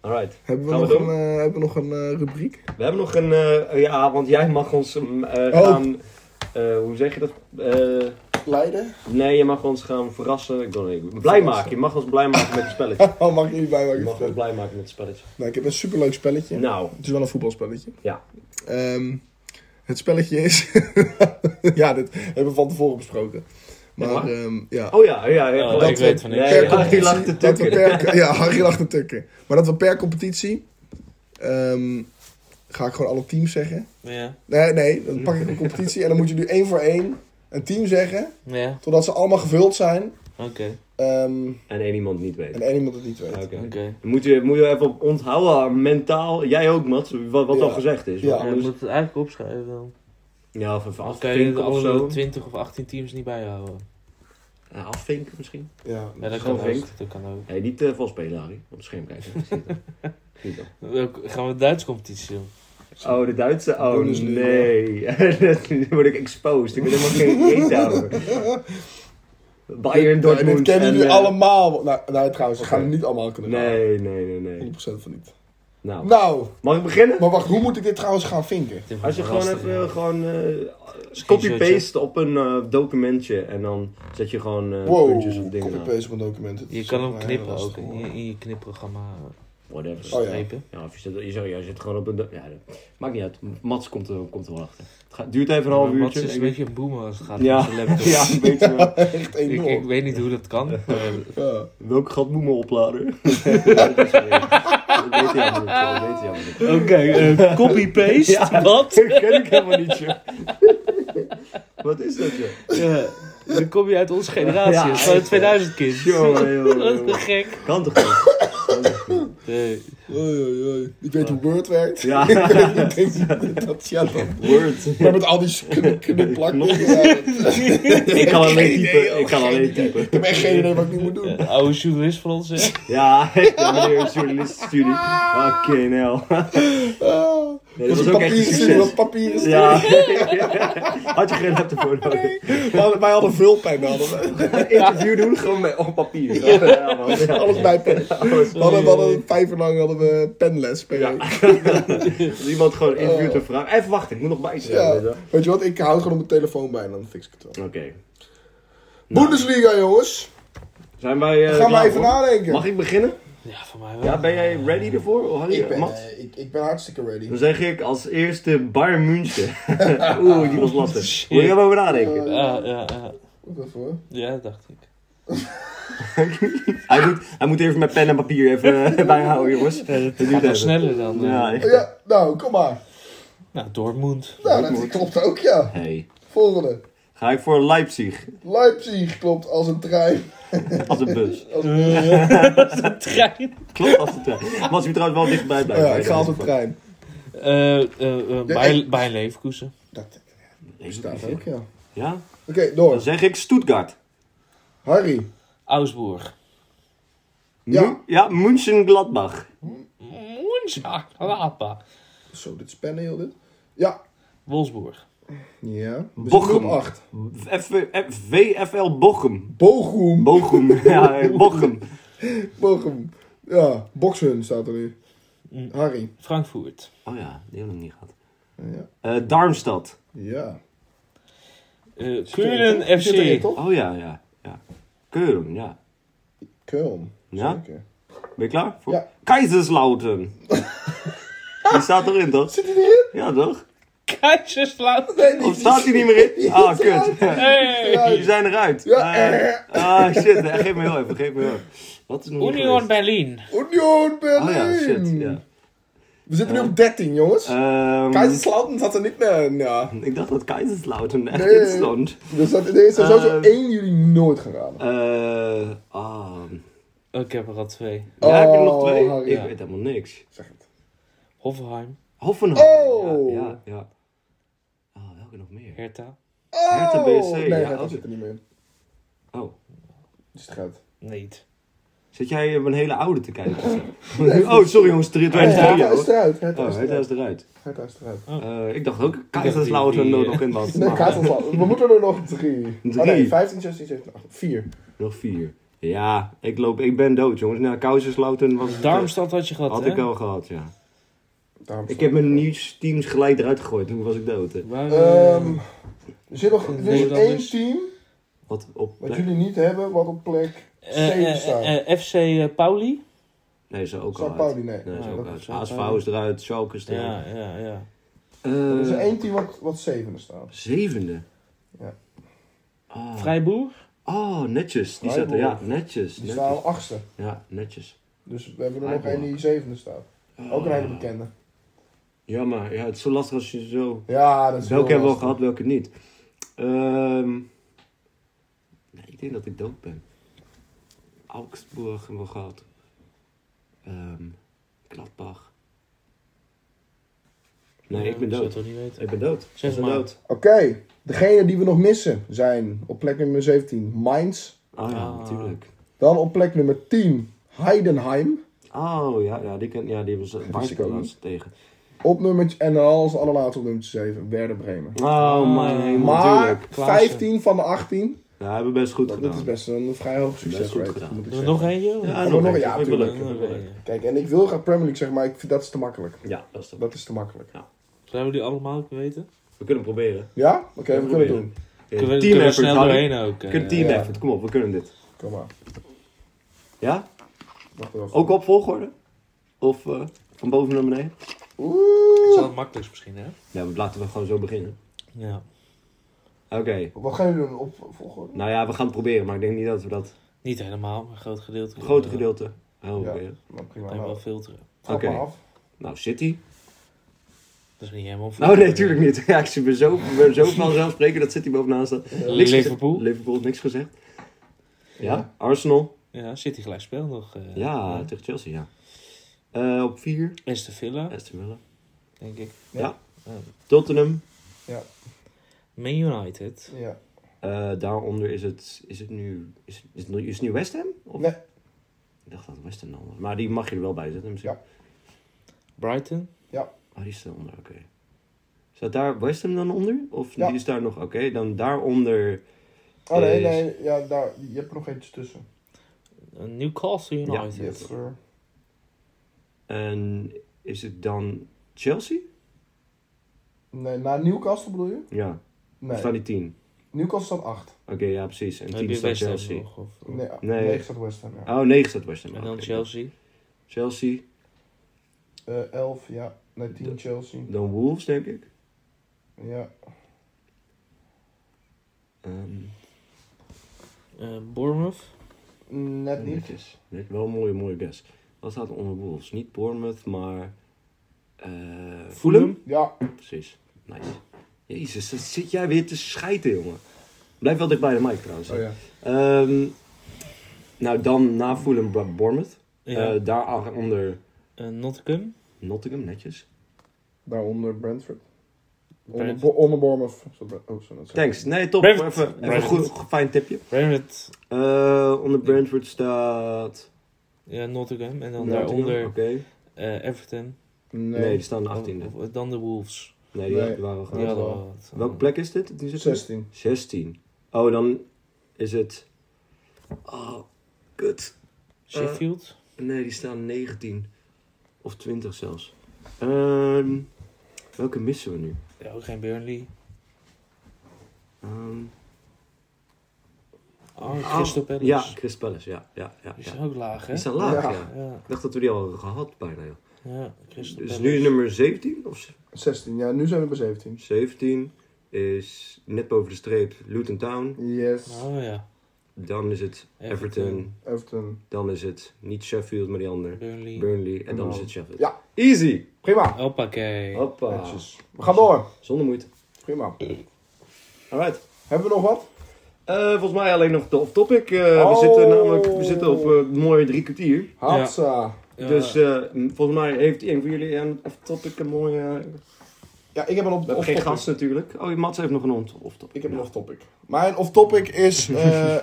Alright.
Hebben we,
Gaan we
nog
doen?
een, eh, hebben we nog een eh, rubriek?
We hebben nog een... eh, ja, want jij mag ons mm, eh,
Oh.
gaan... eh, hoe zeg je dat? Eh,
Leiden?
nee, je mag ons gaan verrassen. Ik wil niet. Blij maken. Je mag ons blij maken met het spelletje.
Oh, mag ik niet bij
Je
maken?
mag ons blij maken met het spelletje.
Nou, ik heb een superleuk spelletje.
Nou,
Het is wel een voetbalspelletje.
Ja.
Ehm, het spelletje is... ja, dit hebben we van tevoren besproken. Maar,
maar?
ehm, ja.
oh ja, ja. ja
Oh,
gewoon-
ik weet van niks.
Nee,
per
ja,
competitie-
Harry lacht te
dat we
tukken.
per, ja, Harry lacht te tukken. Maar dat we per competitie... ehm, ga ik gewoon alle teams zeggen.
Ja.
Nee, nee, dan pak ik een competitie en dan moet je nu één voor één een team zeggen.
Ja,
Totdat ze allemaal gevuld zijn.
oké.
Ehm,
En één iemand niet weet.
en één iemand het niet weet.
Oké.
oké.
Moet je, moet je even onthouden, mentaal, jij ook Mats, wat, wat
Ja.
al gezegd is.
Ja.
Ja,
Ja, je
anders,
moet het eigenlijk opschrijven dan.
ja of even
Of kan je
afvinken
de
of
andere
zo.
20 of 18 teams niet bijhouden?
Ja, afvinken misschien.
Ja.
Ja, dat
Zo
kan ook.
vinkt.
Dat kan ook.
Nee, niet eh vol spelen, Harry. Op het scherm kijken. Dat zit er. Niet dan.
Welk- Gaan we de Duitse competitie doen?
Oh, de Duitse? Oh,
Bundesliga.
nee. Nu word ik exposed. Ik ben helemaal geen reet daarover. Bayern,
Ja, dit
Dortmund
kennen
en,
jullie
eh,
allemaal. Nou, nou trouwens, we gaan het
Oké.
niet allemaal kunnen raden.
Nee, nee, nee, nee.
100% van niet.
Nou,
Nou,
mag ik beginnen?
maar wacht, hoe moet ik dit trouwens gaan vinken?
Als je gewoon even eh, gewoon eh, copy-paste op een eh, documentje en dan zet je gewoon eh,
Wow,
puntjes of dingen aan.
copy-paste van documenten.
Je kan hem knippen ook. In je, in je knipprogramma
Whatever.
Oh ja.
strepen.
Ja, of je zit, je, zou- je zit gewoon op een... do- Ja, dat- maakt niet uit. Mats komt er, komt er wel achter. Het gaat- duurt even een half
Mats
uurtje.
is een beetje een boomer als het gaat om
ja.
zijn laptop.
ja, een beetje wel.
Echt
Ik, ik
enorm.
weet niet hoe dat kan. Eh, maar
Ja.
Welk gat moet me opladen? dat weet hij allemaal niet. Dat weet hij allemaal niet.
Oké,
eh,
copy-paste, wat?
Dat ken ik helemaal niet, joh. Wat is dat, joh?
Ja. Eh, Dan kom je uit onze generatie,
Ja,
dat is gewoon een
echt, hè.
2000 kind.
Jongen, jongen,
Dat is
jongen.
te gek.
Kan toch niet? Kan toch niet?
Nee.
Oei, oei, oei. Ik weet hoe Word werkt.
Ja,
ik denk dat- dat ja, dat.
word.
Maar met al die knip- knipplakken. Ja,
Ik kan alleen
Geen idee,
typen.
joh.
Ik kan alleen typen.
ik heb echt geen idee wat ik nu moet doen.
Een oude journalist van ons, hè?
Ja, ik ben meneer een journalistenstudie. Oké, nou.
Ah,
Nee,
dat
dat
is
was
een
ook echt een
papieren studie,
succes.
was papieren studie.
Ja. Had je geen laptop voor nodig?
Wij hadden- Wij hadden vulpijn. we hadden wij.
Een interview doen gewoon met, op papier. Ja, man. Ja.
Alles bij pen. We hadden, we hadden vijf uur lang hadden we penles per
Ja.
week.
Dus iemand gewoon interviewt en vraagt. Even wachten, ik moet nog bij
Ja.
zeggen. weet je
Weet je wat, ik hou gewoon op mijn telefoon bij en dan fix ik het wel.
wel. Oké. Nou.
Bundesliga, jongens.
Zijn wij. eh
Gaan we
klaar
even
voor?
nadenken.
Mag ik beginnen?
Ja, voor mij wel.
Ja, ben jij ready ervoor? Oh, Harry,
Ik ben,
Mats?
eh, ik, ik ben hartstikke ready.
Dan zeg ik als eerste Bayern München. Oeh, die was lastig. Moet je even over nadenken.
Ja, ja, ja.
Wacht even hoor.
Ja, dat dacht ik.
Hij moet, hij moet even met pen en papier even eh, bijhouden, jongens.
dat
duurt
gaat wel
even.
sneller dan... eh,
Ja, echt.
Ja, nou, kom maar.
Nou, Dortmund.
Nou, dat klopt ook, ja.
Hey.
Volgende.
Ga ik voor Leipzig
Leipzig klopt als een trein.
als een bus?
De trein.
Klopt, als een trein. Was je trouwens wel dichtbij blijven.
Ja, ik ga als een trein.
Eh, eh, eh, Bayern Bayern Leverkusen.
Dat staat
trein.
ook, ja. Oké,
Ja? Dan
door.
zeg ik Stuttgart.
Harry.
Augsburg.
Ja.
Mu- ja München-Gladbach.
Moensdag. Lapa.
Zo, dit is pennen, heel dit. Ja.
Wolfsburg.
Ja. We
Bochum.
zitten op acht.
F- F- VFL Bochum.
Bochum.
Bochum. Ja, eh, Bochum.
Bochum. Ja, Boxhun staat er nu.
Mm.
Harry.
Frankfurt.
Oh ja, die hebben we nog niet gehad.
Ja.
Eh, Darmstad.
Ja.
Eh
Zit er-
Keulen
zit erin,
FC.
toch?
Oh ja, ja. ja. Keulen, ja.
Köln.
Ja?
Zeker.
Ben je klaar? Voor...
Ja.
Keizerslautern. die staat erin, toch?
Zit hij erin?
Ja, toch?
Kaiserslautern.
Nee,
Of staat hij niet meer in? Ah, kut.
Hey.
Die zijn eruit.
Ja.
Eh, ah, shit. Eh, Geef me heel even, geef me heel even. Wat is er nog niet
Union
geweest?
Berlin.
Union Berlin.
Oh ja, shit, ja.
We zitten nu op 13, jongens.
Ehm,
Kaiserslautern zat er niet meer in, ja.
ik dacht dat Keizerslautern echt
Nee.
in stond.
Dus dat, deze zou sowieso
Eh.
één jullie nooit gaan raden.
Eh, ah.
Oh, ik heb er al twee.
Ja, ik heb er nog
Oh,
twee.
Harry.
Ik weet helemaal niks.
Zeg het.
Hoffenheim.
Hoffenheim.
Oh.
Ja, ja. ja. Ah, welke nog meer?
Hertha.
Hertha BSC,
Oh! Nee,
ja,
Hertha
ook.
zit er niet meer in.
Oh,
Dus het gaat.
Niet.
zit jij op een hele oude te kijken? oh, sorry jongens, drie-
Nee, Hertha
2003.
is eruit. Hertha
Oh,
is
Hertha
eruit.
is eruit.
Hertha is eruit.
Eh, ik dacht ook,
die-
Kaiserslautern
die,
er
eh,
nog in was.
Nee,
Maar-
Kaatselval. We moeten er nog drie.
Drie.
Oh nee, 15, 16, 17, 18. Vier.
Nog vier. Ja, ik, loop, ik ben dood, jongens. Nou, Kaiserslautern was het,
Darmstad had je gehad,
had
hè?
ik al gehad, ja.
Daarom
Ik heb mijn nieuwsteams gelijk eruit gegooid, toen was ik dood. Hè.
Waar, eh,
Ehm, er zit nog er is
Nederlanders.
één team
Wat op
wat
plek-
jullie niet hebben, wat op plek
eh,
zeven
eh,
staat.
eh, eh, FC eh, Pauli?
Nee, ze ook
Sao
al uit.
Pauli, nee.
Nee, ze
Nee,
ook
dat
uit.
is ook
ASV
uit.
is eruit, Schalke is eruit.
Ja, ja, ja.
Eh,
Er is er één team wat, wat zevende staat.
Zevende.
Ja.
Ah.
Vrijboer?
Oh, netjes. Die zaten, ja,
Freiburg.
netjes.
Die
netjes.
staan achtste.
Ja, netjes.
Dus we hebben er nog
Freiburg.
één die zevende staat. Eh, Ook een hele bekende.
Jammer. Ja, het is zo lastig als je zo...
Ja, dat is
Welke
heel
hebben we al
lastig.
gehad, welke niet. Ehm, nee, ik denk dat ik dood ben. Augsburg hebben we gehad. Ehm Gladbach. Nee, ik ben
Dat zou ik
dood.
toch niet weten.
Ik ben dood.
Zeg
Ik ben
maar.
dood.
Oké, degene die we nog missen zijn op plek nummer 17 Mainz.
Ah ja,
Ah.
natuurlijk.
Dan op plek nummer 10 Heidenheim.
Oh ja, ja die, ken, ja, die was was
ik
ik
ook
laatst tegen.
Op nummertje, en dan als allerlaatste op nummer 7 Werder Bremen.
Oh mijn
Ah.
hemel,
Maar
natuurlijk.
15 van de 18,
Ja, hebben we best goed
dat, dat
gedaan.
is best een vrij hoog
goed
succesrate.
gedaan.
moet ik
Doen we
zeggen.
nog eentje? of?
Ja,
nog
nog
een,
een.
ja,
Ja, ik wil
tuurlijk.
leuk. ik wil leuk.
Kijk, en ik wil graag Premier League zeggen, maar ik vind dat is te makkelijk.
Ja, dat is dat.
Dat is te makkelijk.
Zijn we die allemaal ook weten?
We kunnen het proberen.
Ja? Oké, we kunnen het
proberen.
doen.
Ja,
Kunnen
team
we, kunnen we
effort,
snel
Harry.
doorheen ook.
We
eh,
kunnen team
Ja.
effort. Kom op, we kunnen dit.
Kom maar.
Ja?
Wacht even.
Ook op volgorde? Of eh, van boven naar beneden?
Dat is
Oeh.
wel het makkelijkst misschien, hè?
Ja, we laten we gewoon zo beginnen.
Ja.
Oké.
Wat gaan jullie doen op volgorde?
Nou ja, we gaan het proberen, maar ik denk niet dat we dat
Niet helemaal, maar een groot gedeelte.
het grote
kunnen we
gedeelte helemaal
Ja.
proberen.
Nou, prima.
En wel
Nou,
filteren.
trap maar
Oké.
af.
Nou, City.
Dat is niet helemaal
Nou,
filteren.
nee, tuurlijk niet. Ja, ik ben zo, ik ben zo vanzelf spreken dat City bovenaan staat. Niks gezegd.
Liverpool.
Liverpool, niks gezegd. Ja, Arsenal.
Ja, City gelijk speel nog. eh
Ja, tegen Chelsea, ja. Eh, op 4,
Aston Villa,
Aston Villa.
denk ik.
Ja. Tottenham.
Ja,
Man United.
ja.
Eh, daaronder is het, is het nu, is, is het, nu- is het nu West Ham? Of-
Nee.
Ik dacht dat het West Ham dan was. Maar die mag je er wel bij zetten misschien.
Ja.
Brighton.
Oh, die is eronder, oké. Staat daar West Ham dan onder? Of
Ja.
die is daar nog, oké. Dan daaronder,
Oh nee,
Is-
nee. Ja, daar, je hebt er nog eentje tussen.
eh, Newcastle United.
Yes, sir.
en is het dan Chelsea?
Nee, naar Newcastle bedoel je?
Ja,
Nee.
staan die tien.
Newcastle staat 8.
Oké, ja precies. En
Dan
tien
Heb je
staat
West Ham
Chelsea.
nog? Of, of-
Nee,
Oh. Nee.
9 staat West Ham, ja.
Oh, negen staat West Ham.
En
oké.
dan Chelsea.
Chelsea,
Eh 11, ja. Nee, 10 Chelsea.
dan Wolves denk ik.
Ja.
Ehm,
Eh, Bournemouth.
Net niet.
Netjes. Net wel een mooie, mooie guess. Wat staat er onder Wolves? Niet Bournemouth, maar... eh Fulham?
Ja.
Precies. Nice. Jezus, dat zit jij weer te schijten, jongen. Blijf wel dicht bij de mic, trouwens.
Oh ja.
Ehm, nou, dan na Fulham, Bra- Bournemouth.
Ja.
Eh, daaronder
Eh, Nottingham.
Nottingham, netjes.
Daaronder Brentford. Onder,
Brent-
Bo- onder Bournemouth. Zo- Oh, zo dat
Thanks. Nee, top.
Brentford.
Even, even een
Brentford.
goed, fijn tipje.
Brentford.
Eh, onder Brentford staat...
Ja, Nottingham. En dan
Nottingham,
daaronder
Oké.
eh, Everton.
Nee.
Nee.
die staan de 18e.
Of- of dan de Wolves.
Nee, die
Nee.
die waren we
Die
gewoon.
hadden wel wat. eh,
Welke plek is dit? Die zit er?
16.
16. Oh, dan is het. Oh, kut.
Sheffield.
Nee, die staan 19. Of 20 zelfs. Ehm, welke missen we nu?
Ja, ook geen Burnley.
Ehm,
Oh, Crystal Palace.
Ah. Ja, Chris Palace, ja. ja, ja,
Die
ja.
zijn ook laag, hè?
Die staan laag, ja.
Ja.
Ja,
Ik dacht dat we die al hadden gehad bijna. Joh.
ja. Crystal
Dus
Palace.
nu nummer 17 of
16, ja. Nu zijn we bij 17.
17 is net boven de streep Luton Town.
Yes.
Ah.
Oh ja.
Dan is het
Everton.
Everton.
Everton.
Dan is het niet Sheffield, maar die ander.
Burnley.
Burnley. En dan
Nou.
is het Sheffield.
Ja.
Easy.
Prima.
Oh,
Hoppakee.
Hoppa.
Netjes. We gaan door.
Zonder moeite.
Prima.
Alright.
Hebben we nog wat?
Eh, volgens mij alleen nog de off-topic. Eh,
Oh.
We zitten namelijk we zitten op eh, mooie drie kwartier.
Hatsa.
Ja.
Dus eh, m- volgens mij heeft een van jullie een off-topic een mooie... eh,
Ja, ik heb een op-
We hebben eh, geen
off-topic.
gast natuurlijk. Oh, Mats heeft nog een ont- of top.
ik heb een off-topic. Mijn off-topic is eh,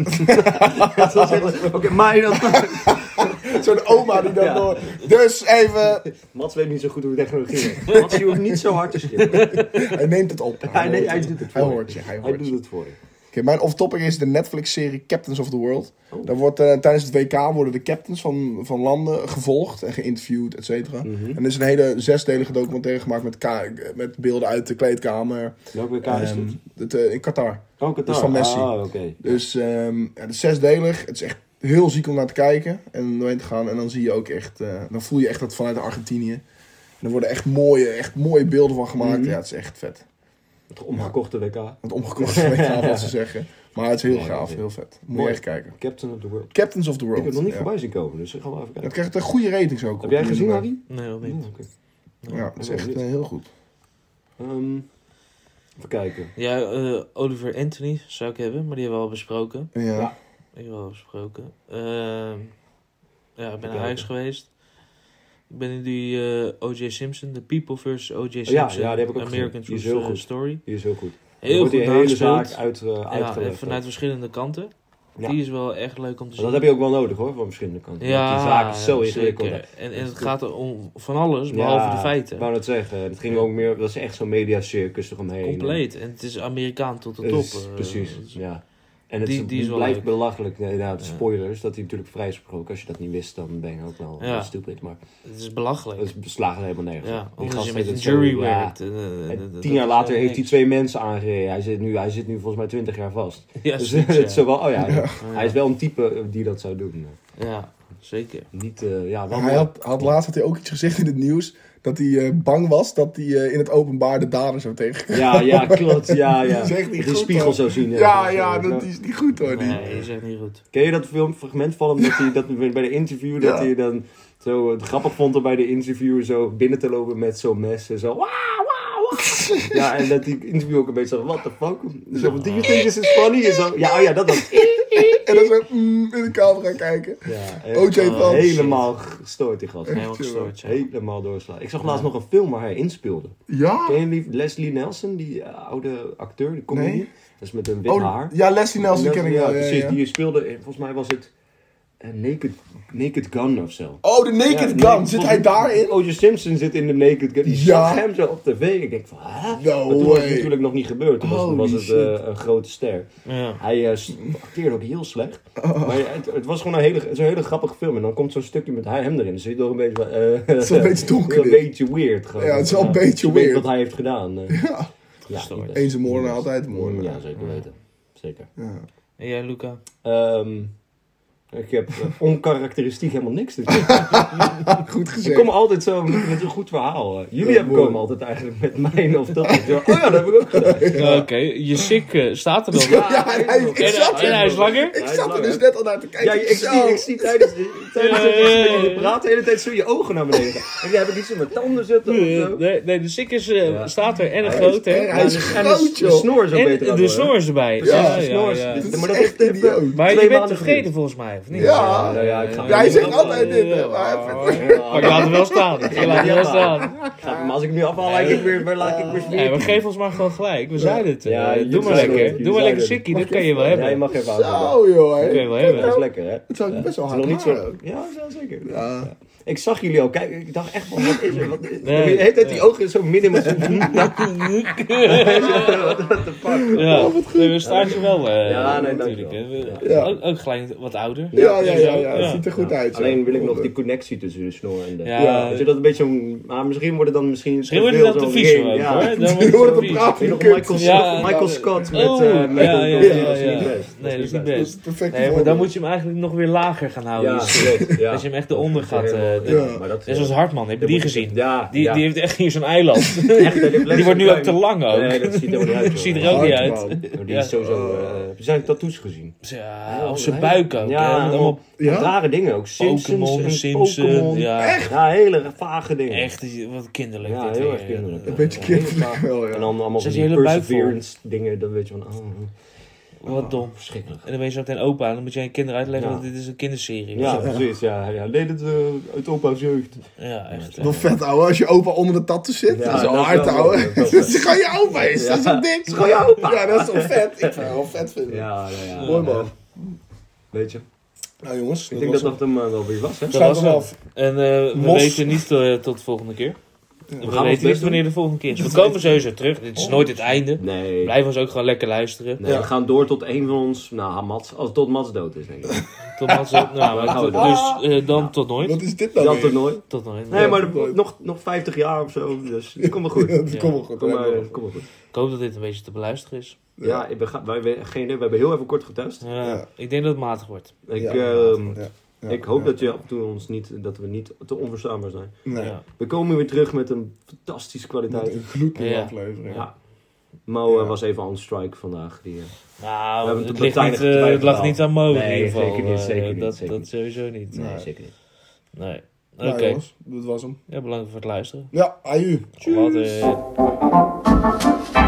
Oké, maar dat...
zo'n oma die dat
Ja.
door... Dus even...
Mats weet niet zo goed hoe technologie werkt. Mats, je hoeft niet zo hard te schreeuwen.
Hij neemt het op.
Hij neemt-
hoort
hij doet het
Hij
voor
hoort je, hij
Hij
hoort
doet
je.
het voor je.
Oké, mijn off-topic is de Netflix-serie Captains of the World.
Oh.
Daar wordt, eh, tijdens het WK worden de captains van, van landen gevolgd en geïnterviewd, et cetera.
Mhm.
En er is een hele zesdelige documentaire gemaakt met, ka- met beelden uit de kleedkamer.
Welke WK is
Ehm,
dit?
dat, eh, in Qatar.
Oh, Qatar.
is van Messi.
Ah, oké.
Dus ehm, ja, het is zesdelig. Het is echt heel ziek om naar te kijken en doorheen te gaan. En dan zie je ook echt, eh, dan voel je echt dat vanuit Argentinië. En er worden echt mooie, echt mooie beelden van gemaakt.
Mhm.
Ja, het is echt vet.
Het omgekochte WK.
Want omgekocht is gaaf wat ze zeggen. Maar het is heel
Nee, dat
gaaf,
is-
heel vet. Moet
Mooi.
je echt kijken.
Captain of the World.
Captains of the World.
Ik heb het nog niet
ja.
voorbij zien komen, dus gaan we even
Dat
kijken.
krijgt een goede ratings ook.
Heb
op
jij gezien,
IMDb.
Harry?
Nee, dat
Ja,
niet.
oké.
Ja, het is echt eh, heel goed.
Ehm, even kijken.
Ja, eh, Oliver Anthony zou ik hebben, maar die hebben we al besproken.
Ja.
Ja.
Die hebben we al besproken. Ehm, ja, ik ben naar Ajax geweest. Ik ben in die eh, O.J. Simpson, The People vs. O.J. Simpson.
Oh ja, die heb ik ook
American
gezien. Die
True
is heel goed.
Story.
Die is heel goed. Er
Heel
wordt
goed
die hele
nagespeeld.
zaak uit, eh,
Ja, en
uitgelegd.
vanuit verschillende kanten.
Ja.
Die is wel echt leuk om
Maar
te zien.
dat heb je ook wel nodig hoor, van verschillende kanten.
ja,
Want die zaak is zo
ja,
ingewikkeld. hè.
zeker. En, en het gaat om van alles, behalve de feiten.
Ik wou het zeggen, het ging ook meer, dat was echt zo'n mediacircus eromheen.
Compleet. En het is Amerikaan tot de
Het
top.
is-
eh,
precies,
dus-
ja. En het
Die-
is-
die is wel
blijft
leuk.
belachelijk. Nee, nou, de
Ja.
spoilers, dat hij natuurlijk vrijgesproken. Als je dat niet wist, dan ben je ook wel
Ja.
stupid. Maar
Het is belachelijk.
het slagen helemaal nergens. op.
ja,
Die
omdat
gast
je met
heeft
een
het zo-
jury
ja.
werkt. en, eh,
En
dat- dat
tien jaar
is
later heeft hij
niks.
twee mensen aangereden. Hij zit nu, hij zit nu volgens mij twintig jaar vast.
Ja,
dus
zoiets,
het is
ja.
zo wel, oh ja,
Ja.
hij is wel een type die dat zou doen.
Ja, zeker.
Niet, eh, ja, wel
Hij
mooi.
had, had laatst had hij ook iets gezegd in het nieuws. Dat hij eh, bang was dat hij eh, in het openbaar de dader zou tegenkomen.
Ja, ja, klopt. Ja, ja.
Zegt die
Die
goed,
spiegel
hoor.
zo zien. hè.
Ja,
is,
ja,
eh,
dat is niet goed hoor. die.
Nee, is echt niet goed.
Ken je dat filmfragment van hem dat hij dat bij de interview dat
Ja.
hij dan zo eh, het grappig vond om bij de interviewer zo binnen te lopen met zo'n mes en zo. "Wah, wah, wah." Ja, en dat die interview ook een beetje zo, what the fuck? Zo, do you think this is funny? En zo, ja, oh ja, dat was.
En dan zo mm, in de camera kijken.
Ja,
OJ
echt, eh,
Phelps.
Helemaal gestoord die gast.
Helemaal gestoord, ja.
Helemaal doorslaan. Ik zag laatst nog een film waar hij inspeelde.
Ja.
Ken je die Leslie Nelson, die eh, oude acteur, de comedian?
Nee.
Dat is met een wit
Oh,
haar.
ja, Leslie Nelson
Dat-
ken ik
ja,
wel. ja,
precies.
ja.
Die speelde, in- volgens mij was het eh, Naked, Naked Gun of zo.
Oh, de Naked
Ja,
Gun.
Naked-
Zit hij daarin?
O.J. Simpson zit in de Naked Gun. Die
Ja.
zag hem zo op tv. Ik denk van, hè?
No
maar toen was het
way.
natuurlijk nog niet gebeurd. Toen was, toen was
Holy
het eh, een grote ster.
Ja.
Hij eh, s- acteerde ook heel slecht.
Oh.
Maar ja, het, het was gewoon een hele, zo'n hele grappige film. En dan komt zo'n stukje met hij- hem erin. Dan zit je toch een beetje... eh,
is wel een beetje donker
Een
dit.
beetje weird gewoon.
Ja, het is wel een
Ja,
beetje
je weet
weird.
wat hij heeft gedaan. eh.
Ja.
Ja,
Gestoord.
niet best.
Eens een moordenaar, altijd een moordenaar.
Ja, zeker weten. Zeker.
Ja.
En jij, Luca?
Ehm, ik heb eh, onkarakteristiek helemaal niks te doen.
Goed
Ik
gezegd.
kom altijd zo met, met een goed verhaal. eh. Jullie
Ja,
hebben
mooi.
komen altijd eigenlijk met mijn of dat. Ik zo, Oh ja, dat heb ik ook gedaan.
Oké, je sick staat er wel.
Ja, en hij, ik
En- eh,
zat
en hij
er.
is langer?
Ik
Hij is
zat er
langer.
dus net al naar te
Ja,
kijken.
ik, zie, ik zie tijdens de, tijdens het gesprek, je praat de hele tijd zo je ogen naar beneden. En jij heb ik iets in mijn tanden zitten of zo.
Nee, nee, de sick is, eh,
Ja.
staat er en een
Hij is-
groot, hè?
en hij is
En de,
groot,
de
joh.
snor zo
En
beter aan,
de
hoor.
snor is erbij.
Precies,
Ja,
de
ja,
snor is-
ja.
dit-
Dat
maar
is
dat
echt
heeft even-
idioot.
Maar je
twee
bent
maanden
tevreden
geleden.
volgens mij, of niet?
Ja.
Nou ja, ik ga-
Ja, hij zegt
Ja,
altijd dit, hè,
ja.
maar hij-
Maar Oh, ik laat hem wel staan. Ik laat hem wel staan.
Ja, maar als ik hem nu afhaal, lijkt ik weer, weer, lijkt ik weer
Nee,
smerig.
maar geef ons maar gewoon gelijk. We zeiden het. eh,
Ja, jullie
doe maar
zeiden het,
lekker.
jullie
Doe maar lekker
zeiden het.
sikkie. Dat kan je wel hebben.
Ja, je mag even houden.
Zo, Oh, joh. hè.
Dat kan je wel
Dat is
hebben.
lekker, hè?
Het zou best wel
Het is
hard
nog niet
maken.
zo. Ja, dat is wel zeker.
Ja.
Ik zag jullie al kijken. Ik dacht echt van, wat is er? Wat is er?
Nee,
de hele tijd die
nee.
ogen zo midden in mijn What the fuck?
Ja, nee, we staan je wel. eh,
Ja, nee,
natuurlijk,
dankjewel.
hè. We-
Ja.
Ook, ook gelijk wat ouder.
Ja, ja, ja, ja.
Ja.
Het ziet er goed uit. joh.
Alleen wil ik nog die connectie tussen de snor en de...
Ja.
Ja. Weet je, dat een beetje zo'n... Maar misschien wordt het dan misschien...
Misschien wordt het
veel
dan te
zo'n
vies
ring,
ook,
ja.
hoor. Dan
Je
wordt
hoort
het
hem
vies.
praten.
Weet je nog
die kut.
Michael,
Ja.
Scott- Michael Scott met...
Oh,
eh, met
ja,
een-
ja,
ja,
Dat is
ja.
niet best.
Nee, dat is niet
Dat
best.
is het perfecte
Nee, maar dan
voorbeeld.
moet je hem eigenlijk nog weer lager gaan houden.
Ja,
die shit.
klopt, ja.
Als je hem echt eronder gaat. eh,
Ja, maar dat-
Net zoals Hartman, heb je die gezien?
Ja,
Die,
ja.
die heeft echt hier zo'n eiland.
Echt, dat heeft
Die wordt nu ook te
letterlijk-
lang ook.
Nee, dat ziet er ook niet uit. joh.
Ziet er ook niet uit.
Hartman.
Maar Die is sowieso... eh, Heb je zijn tattoos gezien?
Ja, op zijn buik ook. hè.
Ja,
Met
allemaal
allemaal
Ja?
rare dingen ook. Simpsons
Pokémon,
en
Simpson.
Pokémon.
Ja,
Ja, hele vage dingen.
echt wat kinderlijk.
Ja,
dit
heel
weer.
erg kinderlijk.
Een beetje
Ja, heel
kinderlijk
vaag.
wel, ja.
En dan allemaal
Zet
van
je
die
hele buik vol.
perseverance dingen, dan weet je van... Oh,
Wat dom.
Verschrikkelijk.
En dan ben je zo meteen opa en dan moet jij je kinderen uitleggen
Ja.
dat dit is een kinderserie
Ja,
is.
precies. Ja, ja. Nee, dit eh uit opa's jeugd.
Ja, echt.
Wel vet, ouwe. Als je opa onder de tattoo zit.
Ja,
dat is wel
dat is
hard,
wel
ouwe.
leuk, dat
Dat
is wel
is gewoon je opa is. Dat is een ding.
is gewoon je opa.
Ja, dat is toch vet. Ik zou het wel vet vinden.
Ja, ja, ja.
Mooi, man.
Weet je, ik
Nou jongens,
denk dat dat hem eh, wel weer was, hè?
Dat
Sluit
was
hem
hem.
af.
En eh, we
Mos.
weten niet eh, tot de volgende keer. We,
gaan ons
weten
best
niet
doen.
wanneer de volgende keer is. We komen sowieso terug. Dit is nooit het einde.
Nee.
Blijf ons ook gewoon lekker luisteren.
Nee,
Ja.
we gaan door tot een van ons, nou, Mats, als tot Mats dood is, denk ik.
Tot dan, nou,
gaan we
maar- dus eh, dan tot nooit.
Wat is dit nou
Dat
weer?
toernooi.
Tot nooit.
Nee, maar
dat nooit.
nog, nog 50 jaar of zo, dus kom maar goed.
Dat
Ja.
Kom maar goed.
Kom
hè.
maar, kom maar goed.
Ik hoop dat dit een beetje te beluisteren is.
Ja, ik ben, ga- wij, wij, geen, idee, we hebben heel even kort getest.
Ja,
Ja.
Ik denk dat het matig wordt.
Ik,
Ja.
ehm,
Ja. Ja.
ik hoop
Ja.
dat, je af en toe ons niet, dat we niet te onverstaanbaar zijn.
Nee.
Ja.
We komen weer terug met een fantastische
Met
kwaliteit.
een gloednieuwe
Ja.
aflevering.
Ja. Mo eh,
Ja.
was even on strike vandaag. Die, eh, We
Nou,
hebben
het,
het
ligt
op
niet,
tijdig
eh, het lag
getwijfeld.
niet aan Mo in
Nee,
ieder geval.
zeker niet,
eh,
zeker niet,
dat,
zeker
dat
niet.
sowieso niet.
Nee.
zeker niet.
Nee. Oké,
Nou jongens, dat was hem.
ja, bedankt voor het luisteren.
Ja, aju.
Later.